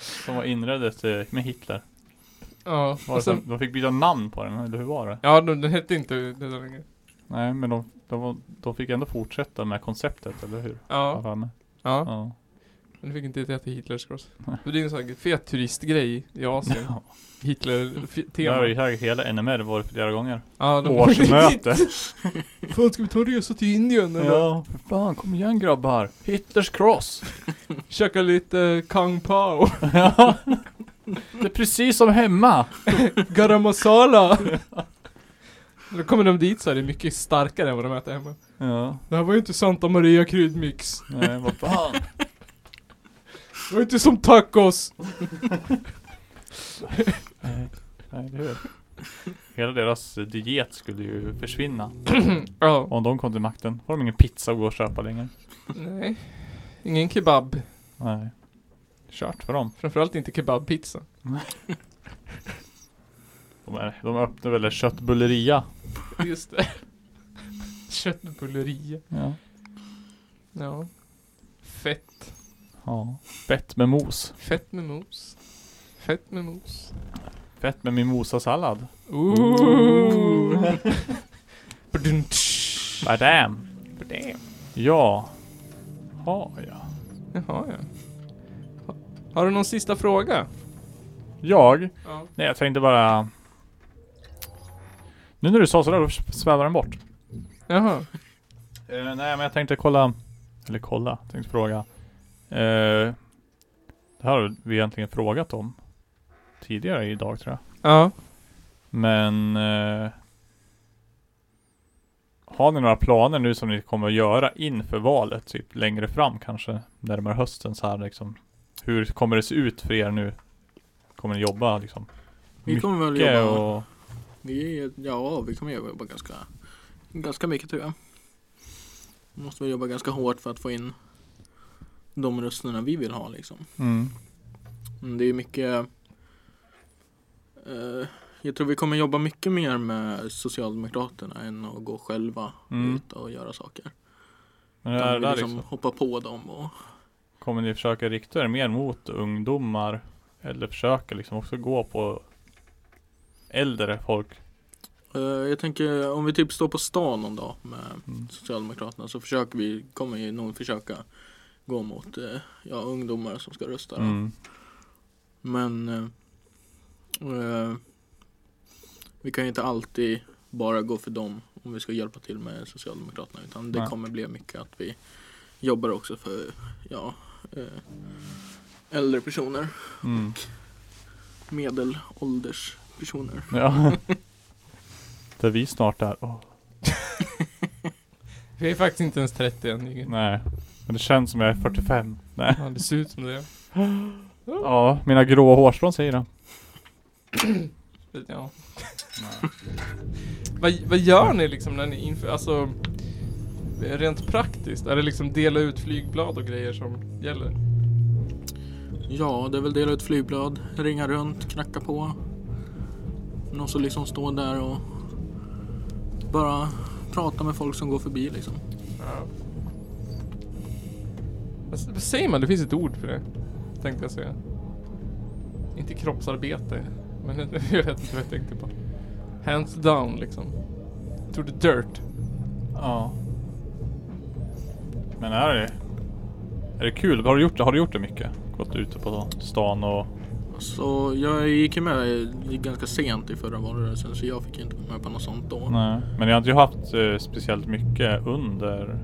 Speaker 1: Som var inreddes eh, med Hitler.
Speaker 2: ja.
Speaker 1: Var det
Speaker 2: Och sen,
Speaker 1: som, de fick byta namn på den, eller hur var det?
Speaker 2: Alltså, ja, den den hette inte det där längre.
Speaker 1: Nej, men de, de, var- de fick ändå fortsätta med konceptet, eller hur? Har jag
Speaker 2: Ja.
Speaker 1: för mig.
Speaker 2: Ja.
Speaker 1: Ja.
Speaker 2: Men du fick inte heta Hitlers cross.
Speaker 1: Nej.
Speaker 2: För det är en sån här fet turistgrej i Asien.
Speaker 1: Ja. Det
Speaker 2: Hitler-tema.
Speaker 1: har ju säkert hela NMR varit flera gånger.
Speaker 2: Ja, de-
Speaker 1: Årsmöte.
Speaker 2: Fan, ska vi ta en resa till Indien eller?
Speaker 1: ja, för fan kom igen grabbar. Hitlers cross.
Speaker 2: Käka lite Kung Pao.
Speaker 1: ja. Det är precis som hemma.
Speaker 2: Garam masala. Då kommer de dit så är det mycket starkare än vad de äter hemma.
Speaker 1: Ja,
Speaker 2: Det här var ju inte Santa Maria kryddmix.
Speaker 1: nej vad fan.
Speaker 2: Det var ju inte som tacos.
Speaker 1: Nej, nej, det är det. Hela deras diet skulle ju försvinna.
Speaker 2: Ja.
Speaker 1: Om de kom till makten har de ingen pizza att gå och köpa längre.
Speaker 2: Nej. Ingen kebab.
Speaker 1: Nej. Kört för dem.
Speaker 2: Framförallt inte kebabpizza.
Speaker 1: De, är, de öppnar väl en köttbulleria.
Speaker 2: Just det. Köttbulleria.
Speaker 1: Ja.
Speaker 2: Ja. Fett.
Speaker 1: ja. Fett med mos.
Speaker 2: Fett med mos. Fett med mos.
Speaker 1: Fett med mimosasallad.
Speaker 2: Ooh.
Speaker 1: Badam. Ja. Har jag.
Speaker 2: Jaha ja. Ha- Har du någon sista fråga?
Speaker 1: Jag?
Speaker 2: Ja.
Speaker 1: Nej, jag tänkte bara... Nu när du sa sådär, då svävar den bort.
Speaker 2: Jaha.
Speaker 1: Eh, nej, men jag tänkte kolla... Eller kolla, tänkte fråga. Eh, det här har vi egentligen frågat om tidigare idag tror jag.
Speaker 2: Ja.
Speaker 1: Men... Eh, har ni några planer nu som ni kommer att göra inför valet? Typ längre fram kanske? Närmare hösten så här liksom. Hur kommer det se ut för er nu? Kommer ni jobba liksom?
Speaker 3: Vi kommer väl
Speaker 1: mycket
Speaker 3: jobba.
Speaker 1: och...
Speaker 3: Vi, är- ja, vi kommer jobba ganska, ganska mycket tror jag. Måste vi jobba ganska hårt för att få in de rösterna vi vill ha liksom.
Speaker 1: Mm.
Speaker 3: Mm, Det är mycket eh, Jag tror vi kommer jobba mycket mer med Socialdemokraterna än att gå själva
Speaker 1: Mm.
Speaker 3: ut och göra saker.
Speaker 1: Men
Speaker 3: Utan
Speaker 1: är det
Speaker 3: vi
Speaker 1: där
Speaker 3: liksom
Speaker 1: liksom,
Speaker 3: hoppa på dem och
Speaker 1: kommer ni försöka rikta er mer mot ungdomar? Eller försöka liksom också gå på äldre folk?
Speaker 3: Eh, Jag tänker om vi typ står på stan någon dag med
Speaker 1: Mm.
Speaker 3: Socialdemokraterna så försöker vi, kommer ju nog försöka gå mot eh, ja, ungdomar som ska rösta. då.
Speaker 1: Mm.
Speaker 3: Men eh, eh, vi kan ju inte alltid bara gå för dem om vi ska hjälpa till med Socialdemokraterna utan det
Speaker 1: Nej.
Speaker 3: kommer bli mycket att vi jobbar också för ja, eh, äldre personer,
Speaker 1: Mm.
Speaker 3: medelålders personer.
Speaker 1: Ja. Där vi snart är. Åh.
Speaker 2: Vi är faktiskt inte ens 30 än. Jürgen.
Speaker 1: Nej. Men det känns som jag är 45. Nej.
Speaker 2: Ja, det ser ut som det.
Speaker 1: Ja, mina gråa hårstrån säger det.
Speaker 2: Ja. vad, vad gör ni liksom när ni inför, alltså rent praktiskt? Är det liksom dela ut flygblad och grejer som gäller?
Speaker 3: Ja, det är väl dela ut flygblad, ringa runt, knacka på. Någon som liksom står där och bara prata med folk som går förbi liksom.
Speaker 2: Ja. Vad s- Vad säger man? Det finns ett ord för det. Tänkte jag säga. Inte kroppsarbete. Men jag vet inte vad jag tänkte på. Hands down liksom. Jag trodde dirt.
Speaker 1: Ja. Men är det... Är det kul? Har du gjort det, har du gjort det mycket? Gått ute på stan och...
Speaker 3: Så jag gick ju med ganska sent i förra valrörelsen så jag fick inte vara med på något sånt då.
Speaker 1: Nej. Men jag har inte haft eh, speciellt mycket under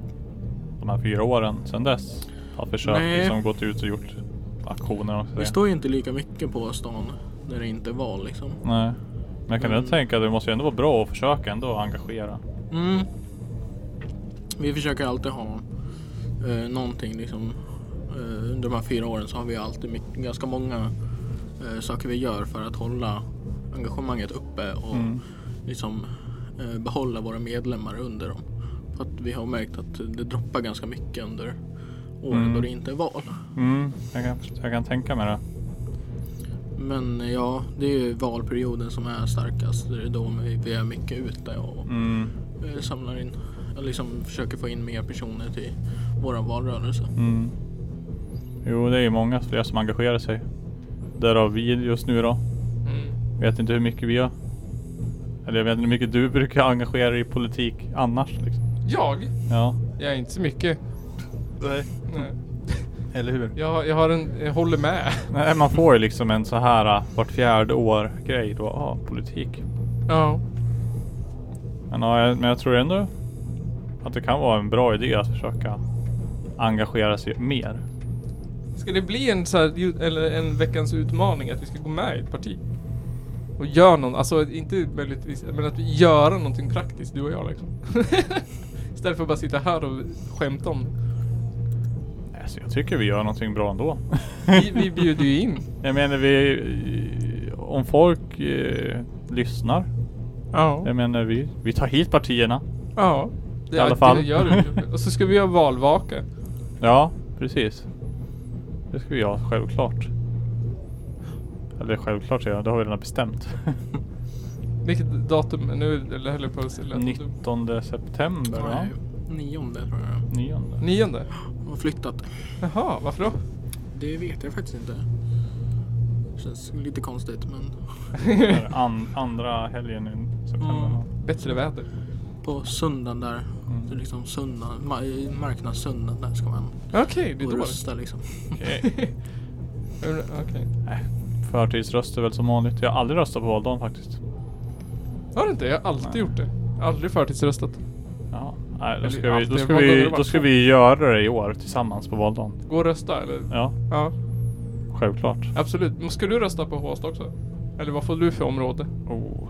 Speaker 1: de här fyra åren sedan dess. Har försökt
Speaker 3: Nej.
Speaker 1: liksom gått ut och gjort aktioner och
Speaker 3: Det
Speaker 1: sådär.
Speaker 3: står ju inte lika mycket på stan när det inte är val liksom.
Speaker 1: Nej. Men jag kan
Speaker 3: Mm.
Speaker 1: ändå tänka att det måste ju ändå vara bra att försöka ändå engagera.
Speaker 3: Mm. Vi försöker alltid ha eh, någonting liksom. Eh, under de här fyra åren så har vi alltid mycket, ganska många eh, saker vi gör för att hålla engagemanget uppe och
Speaker 1: Mm.
Speaker 3: liksom eh, behålla våra medlemmar under dem. För att vi har märkt att det droppar ganska mycket under åren
Speaker 1: Mm.
Speaker 3: då det inte är val.
Speaker 1: Mm. Jag, kan, jag kan tänka mig det.
Speaker 3: Men eh, ja, det är ju valperioden som är starkast. Det är då vi, vi är mycket ute och
Speaker 1: Mm.
Speaker 3: eh, samlar in, eller liksom försöker få in mer personer till våra valrörelse.
Speaker 1: Mm. Jo, det är ju många fler som engagerar sig. Därav vi just nu då.
Speaker 2: Mm.
Speaker 1: Vet inte hur mycket vi har. Eller jag vet inte hur mycket du brukar engagera dig i politik annars liksom.
Speaker 2: Jag?
Speaker 1: Ja.
Speaker 2: Jag är inte så mycket.
Speaker 1: Nej.
Speaker 2: Nej.
Speaker 1: Eller hur?
Speaker 2: Jag, jag har en, jag håller med.
Speaker 1: Nej, man får ju liksom en så här ah, vart fjärde år grej då. Ja, ah, politik.
Speaker 2: Ja.
Speaker 1: Men, ja, jag, men jag tror ändå att det kan vara en bra idé att försöka engagera sig mer.
Speaker 2: Ska det bli en, så här, ju- eller en veckans utmaning att vi ska gå med i ett parti? Och göra någon, alltså inte möjligtvis, men att vi gör någonting praktiskt, du och jag liksom. Istället för att bara sitta här och skämta om.
Speaker 1: Alltså, jag tycker vi gör någonting bra ändå.
Speaker 2: Vi, vi bjuder ju in.
Speaker 1: Jag menar vi... Om folk eh, lyssnar.
Speaker 2: Ja.
Speaker 1: Jag menar vi, vi tar hit partierna.
Speaker 2: Ja. Det,
Speaker 1: I alla fall.
Speaker 2: Det gör du. Och så ska vi göra valvaka.
Speaker 1: Ja, precis. Det ska vi göra, självklart. Eller självklart säger jag, det har vi redan bestämt.
Speaker 2: Vilket datum? Nu eller höll jag på att säga.
Speaker 1: 19 september, ja.
Speaker 3: Nej, eh, Nionde tror jag.
Speaker 1: Nionde.
Speaker 2: Nionde?
Speaker 3: Har flyttat.
Speaker 2: Jaha, varför då?
Speaker 3: Det vet jag faktiskt inte. Känns lite konstigt men
Speaker 1: Eller An, andra helgen i september.
Speaker 3: Mm.
Speaker 1: va?
Speaker 2: Bättre väder.
Speaker 3: på söndagen där, det är
Speaker 1: Mm.
Speaker 3: liksom söndag, ma- i marknadssöndagen där ska man
Speaker 2: Okej, det
Speaker 3: gå
Speaker 2: är
Speaker 3: och
Speaker 2: då.
Speaker 3: rösta liksom.
Speaker 2: Ur- Okej.
Speaker 1: Nej, Förtidsröster Mm. väl som vanligt. Jag har aldrig röstat på valdagen faktiskt.
Speaker 2: Har du inte? Jag har alltid
Speaker 1: Nej.
Speaker 2: gjort det. Aldrig förtidsröstat.
Speaker 1: Ja, nej, då
Speaker 2: Eller
Speaker 1: ska, vi,
Speaker 2: alltid,
Speaker 1: då, ska
Speaker 2: valdagen har
Speaker 1: vi,
Speaker 2: det varit
Speaker 1: då ska
Speaker 2: så.
Speaker 1: vi göra det i år tillsammans på valdagen.
Speaker 2: Gå och rösta eller?
Speaker 1: Ja,
Speaker 2: Ja,
Speaker 1: självklart.
Speaker 2: absolut. Men ska du rösta på Håsta också? Eller vad får du för område?
Speaker 1: Oh,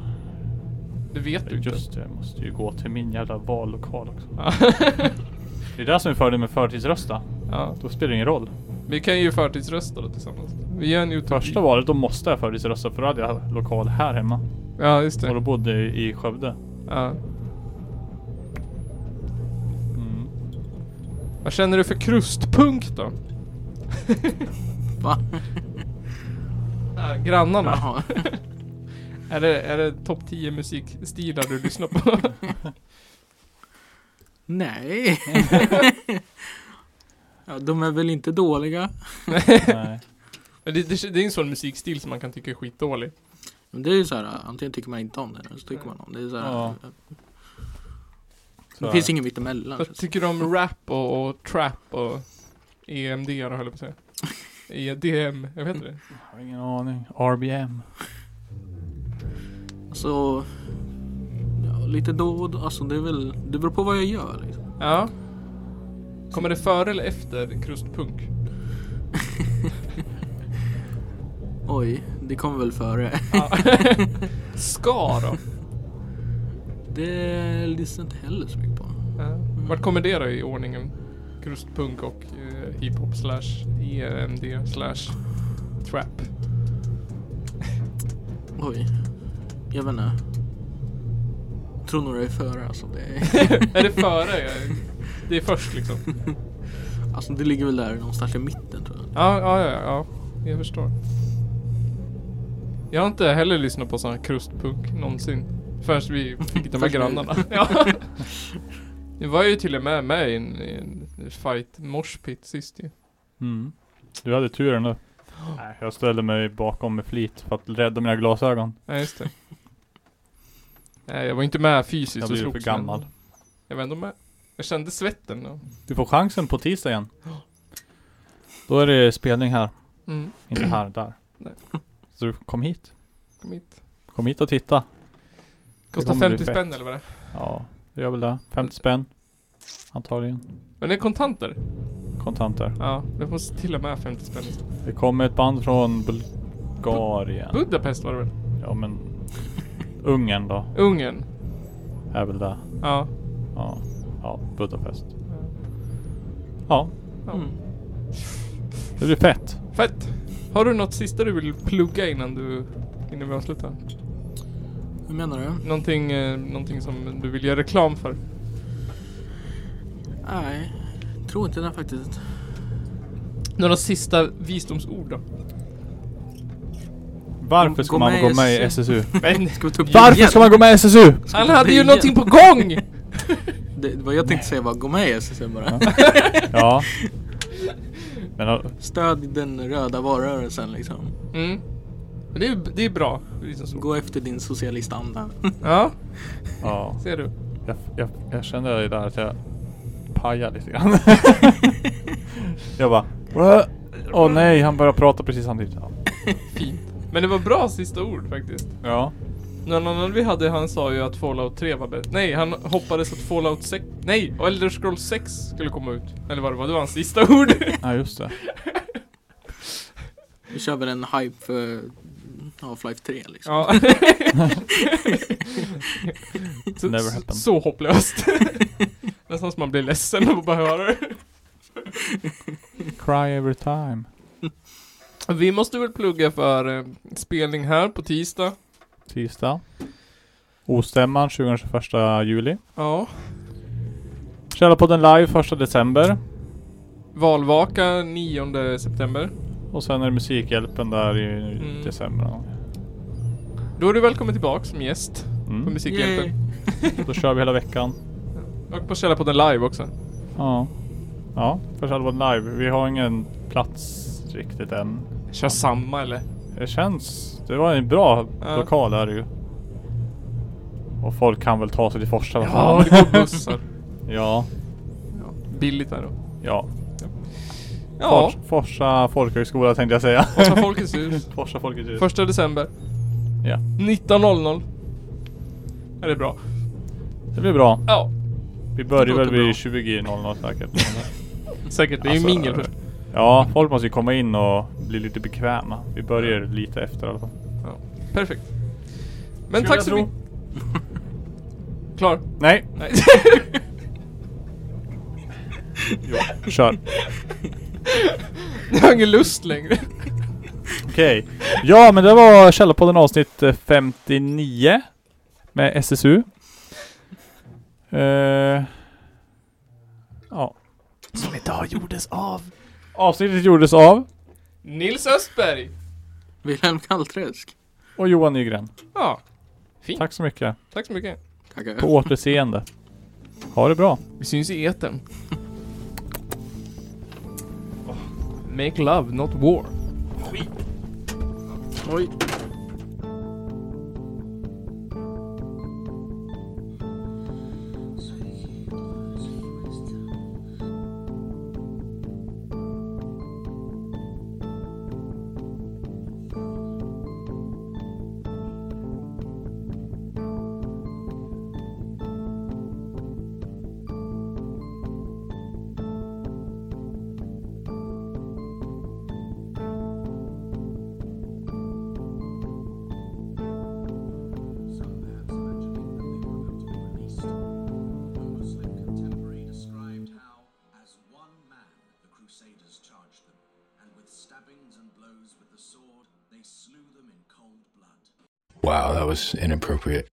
Speaker 2: Det vet du inte.
Speaker 1: just det, jag måste ju gå till min jävla vallokal också.
Speaker 2: Ja.
Speaker 1: Det är det som är fördelen med förtidsrösta.
Speaker 2: ja.
Speaker 1: Då spelar det ingen roll.
Speaker 2: Vi kan ju förtidsrösta då tillsammans. Vi gör en youtube
Speaker 1: Första valet då måste jag förtidsrösta för då hade jag lokal här hemma.
Speaker 2: Ja, just
Speaker 1: Och då
Speaker 2: det.
Speaker 1: bodde jag i Skövde.
Speaker 2: Ja.
Speaker 1: Mm.
Speaker 2: Vad känner du för krustpunk då?
Speaker 3: Va?
Speaker 2: Ja, grannarna.
Speaker 3: Jaha.
Speaker 2: Är det, är det topp 10 musikstilar du lyssnar på?
Speaker 3: Nej. ja, de är väl inte dåliga.
Speaker 1: Nej.
Speaker 2: Men det, det, det är en sån musikstil som man kan tycka är skitdålig.
Speaker 3: Men det är ju så här, äh, antingen tycker man inte om det eller så tycker man om det. Det, är så här, äh,
Speaker 1: Ja.
Speaker 3: det finns inget mittemellan. liksom.
Speaker 2: Vad tycker du om rap och, och trap och E EMD höll jag på att säga. EDM, jag vet inte det.
Speaker 1: Jag har ingen aning. RBM.
Speaker 3: Så ja, lite då och då, alltså det är väl, det beror på vad jag gör liksom.
Speaker 2: Ja. Kommer det före eller efter krustpunk?
Speaker 3: Oj, det kommer väl före.
Speaker 2: Ja. Ska då?
Speaker 3: Det lyssnar inte heller så mycket på.
Speaker 2: Ja. Vart kommer det då i ordningen? Krustpunk och eh, hiphop slash EMD slash trap.
Speaker 3: Oj, jag vet inte. Jag tror nog det är före alltså. Det,
Speaker 2: är det före? Ja. Det är först liksom.
Speaker 3: alltså det ligger väl där någonstans i mitten tror jag.
Speaker 2: Ja, ja, ja, ja. Jag förstår. Jag har inte heller lyssnat på sån här krustpunk någonsin. Förrän vi fick de här
Speaker 3: Först nu.
Speaker 2: grannarna. Ja. Jag var ju till och med med i en, i en fight moshpit sist ju.
Speaker 1: Mm. Du hade turen då. Nej, jag ställde mig bakom med flit för att rädda mina glasögon.
Speaker 2: Nej, just det. Nej, jag var inte med fysiskt
Speaker 1: Jag
Speaker 2: och
Speaker 1: blir för
Speaker 2: slogs,
Speaker 1: gammal.
Speaker 2: men Jag var ändå med. Jag kände svetten då.
Speaker 1: Du får chansen på tisdag igen. Då är det spelning här.
Speaker 2: Mm.
Speaker 1: Inte här, där.
Speaker 2: Nej.
Speaker 1: Så du kom hit.
Speaker 2: Kom hit.
Speaker 1: Kom hit och titta.
Speaker 2: Kostar
Speaker 1: kommer bli
Speaker 2: 50
Speaker 1: fett.
Speaker 2: spänn eller vad det är.
Speaker 1: Ja, det gör väl det. 50 spänn. Antagligen.
Speaker 2: Men det är kontanter.
Speaker 1: Kontanter.
Speaker 2: Ja, det måste till och med 50 spänn.
Speaker 1: Det kommer ett band från Bulgarien.
Speaker 2: Budapest var det väl?
Speaker 1: Ja men... Ungern då,
Speaker 2: Ungern.
Speaker 1: är väl det.
Speaker 2: Ja.
Speaker 1: Ja. Ja, Budapest. Ja,
Speaker 2: ja.
Speaker 3: Mm.
Speaker 1: det blir fett.
Speaker 2: Fett! Har du något sista du vill plugga innan du... Innan vi avslutar?
Speaker 3: Hur menar du?
Speaker 2: Någonting, eh, någonting som du vill göra reklam för?
Speaker 3: Nej, tror inte det faktiskt.
Speaker 2: Några sista visdomsord då?
Speaker 1: Varför ska
Speaker 3: Gå
Speaker 1: man
Speaker 3: med
Speaker 1: gå
Speaker 3: i
Speaker 1: med i
Speaker 3: SSU?
Speaker 1: SSU?
Speaker 2: Men
Speaker 3: Ska vi ta upp det
Speaker 1: Varför
Speaker 3: igen?
Speaker 1: ska man gå med i SSU?
Speaker 2: han hade ju
Speaker 3: igen.
Speaker 2: någonting på gång!
Speaker 3: Det, vad jag tänkte säga var gå med i SSU bara.
Speaker 1: Ja. Men ja,
Speaker 3: Stöd den röda valrörelsen liksom.
Speaker 2: Mm. Men det är ju det är bra. visdomsord.
Speaker 3: Gå efter din socialistanda.
Speaker 2: Ja,
Speaker 1: ja.
Speaker 2: ser du.
Speaker 1: Jag, jag, jag kände det där att jag pajade lite grann. jag bara... "Wah." Åh nej, han började prata precis samtidigt. Ja.
Speaker 2: Fint. Men det var bra sista ord faktiskt.
Speaker 1: ja.
Speaker 2: Någon annan vi hade, han sa ju att Fallout 3 var bäst. Nej, han hoppades att Fallout 6... Nej, och Elder Scrolls 6 skulle komma ut. Eller vad det var, det var hans sista ord.
Speaker 1: Ja just det.
Speaker 3: Vi kör väl en hype för Half-Life 3 liksom.
Speaker 2: Ja. så,
Speaker 1: Never happened.
Speaker 2: så hopplöst. Nästan som man blir ledsen av att bara höra det.
Speaker 1: Cry every time.
Speaker 2: Vi måste väl plugga för eh, spelning här på tisdag.
Speaker 1: Tisdag. Ostämman 21 juli.
Speaker 2: Ja.
Speaker 1: Källarpodden live 1 december.
Speaker 2: Valvaka 9 september.
Speaker 1: Och sen är det Musikhjälpen där i
Speaker 2: Mm.
Speaker 1: december. någon gång.
Speaker 2: Då är du välkommen tillbaka som gäst på
Speaker 1: Mm.
Speaker 2: Musikhjälpen.
Speaker 1: Då kör vi hela veckan.
Speaker 2: Och på Källarpodden live också.
Speaker 1: Ja. Ja, första halvan live. Vi har ingen plats riktigt än.
Speaker 2: Kör samma eller?
Speaker 1: Det känns... Det var en bra
Speaker 2: Ja.
Speaker 1: lokal är det ju. Och folk kan väl ta sig till Forsa vad
Speaker 2: Ja, det
Speaker 1: fan.
Speaker 2: går bussar.
Speaker 1: ja.
Speaker 2: Ja, billigt där då.
Speaker 1: Ja.
Speaker 2: Ja,
Speaker 1: Fors, Forsa folkhögskola tänkte jag säga.
Speaker 2: Forsa Folkets hus.
Speaker 1: Forsa Folkets hus.
Speaker 2: Första december.
Speaker 1: Ja.
Speaker 2: 19.00. Är det bra?
Speaker 1: Det blir bra.
Speaker 2: Ja,
Speaker 1: Vi börjar väl
Speaker 3: Låter bra.
Speaker 1: vid 20.00 säkert.
Speaker 2: säkert. Det är ju
Speaker 1: Alltså,
Speaker 2: mingel först.
Speaker 1: Ja, folk måste ju komma in och bli lite bekväma. Vi börjar lite efter i alla fall.
Speaker 2: Perfekt. Men
Speaker 1: Skulle
Speaker 2: tack
Speaker 1: jag
Speaker 2: så
Speaker 1: tro.
Speaker 2: mycket. Klar?
Speaker 1: Nej,
Speaker 2: Nej.
Speaker 1: kör.
Speaker 2: Jag har ingen lust längre.
Speaker 1: Okej. Ja, men det var Källarpodden avsnitt eh, 59 med SSU. Eh, ja.
Speaker 2: Som idag gjordes av.
Speaker 1: Avsnittet gjordes av
Speaker 2: Nils Östberg.
Speaker 3: Wilhelm Kallträsk.
Speaker 1: och Johan Nygren.
Speaker 2: Ja,
Speaker 1: Tack så mycket.
Speaker 2: tack så mycket.
Speaker 3: Tackar.
Speaker 1: På återseende. Ha det bra.
Speaker 2: Vi syns i etern. Make love, not war.
Speaker 3: Oj.
Speaker 6: Some maps of Angelina Lima that were released. One Muslim contemporary described how, as one man, the Crusaders charged them, and with stabbings and blows with the sword, they slew them in cold blood.
Speaker 7: Wow, that was inappropriate.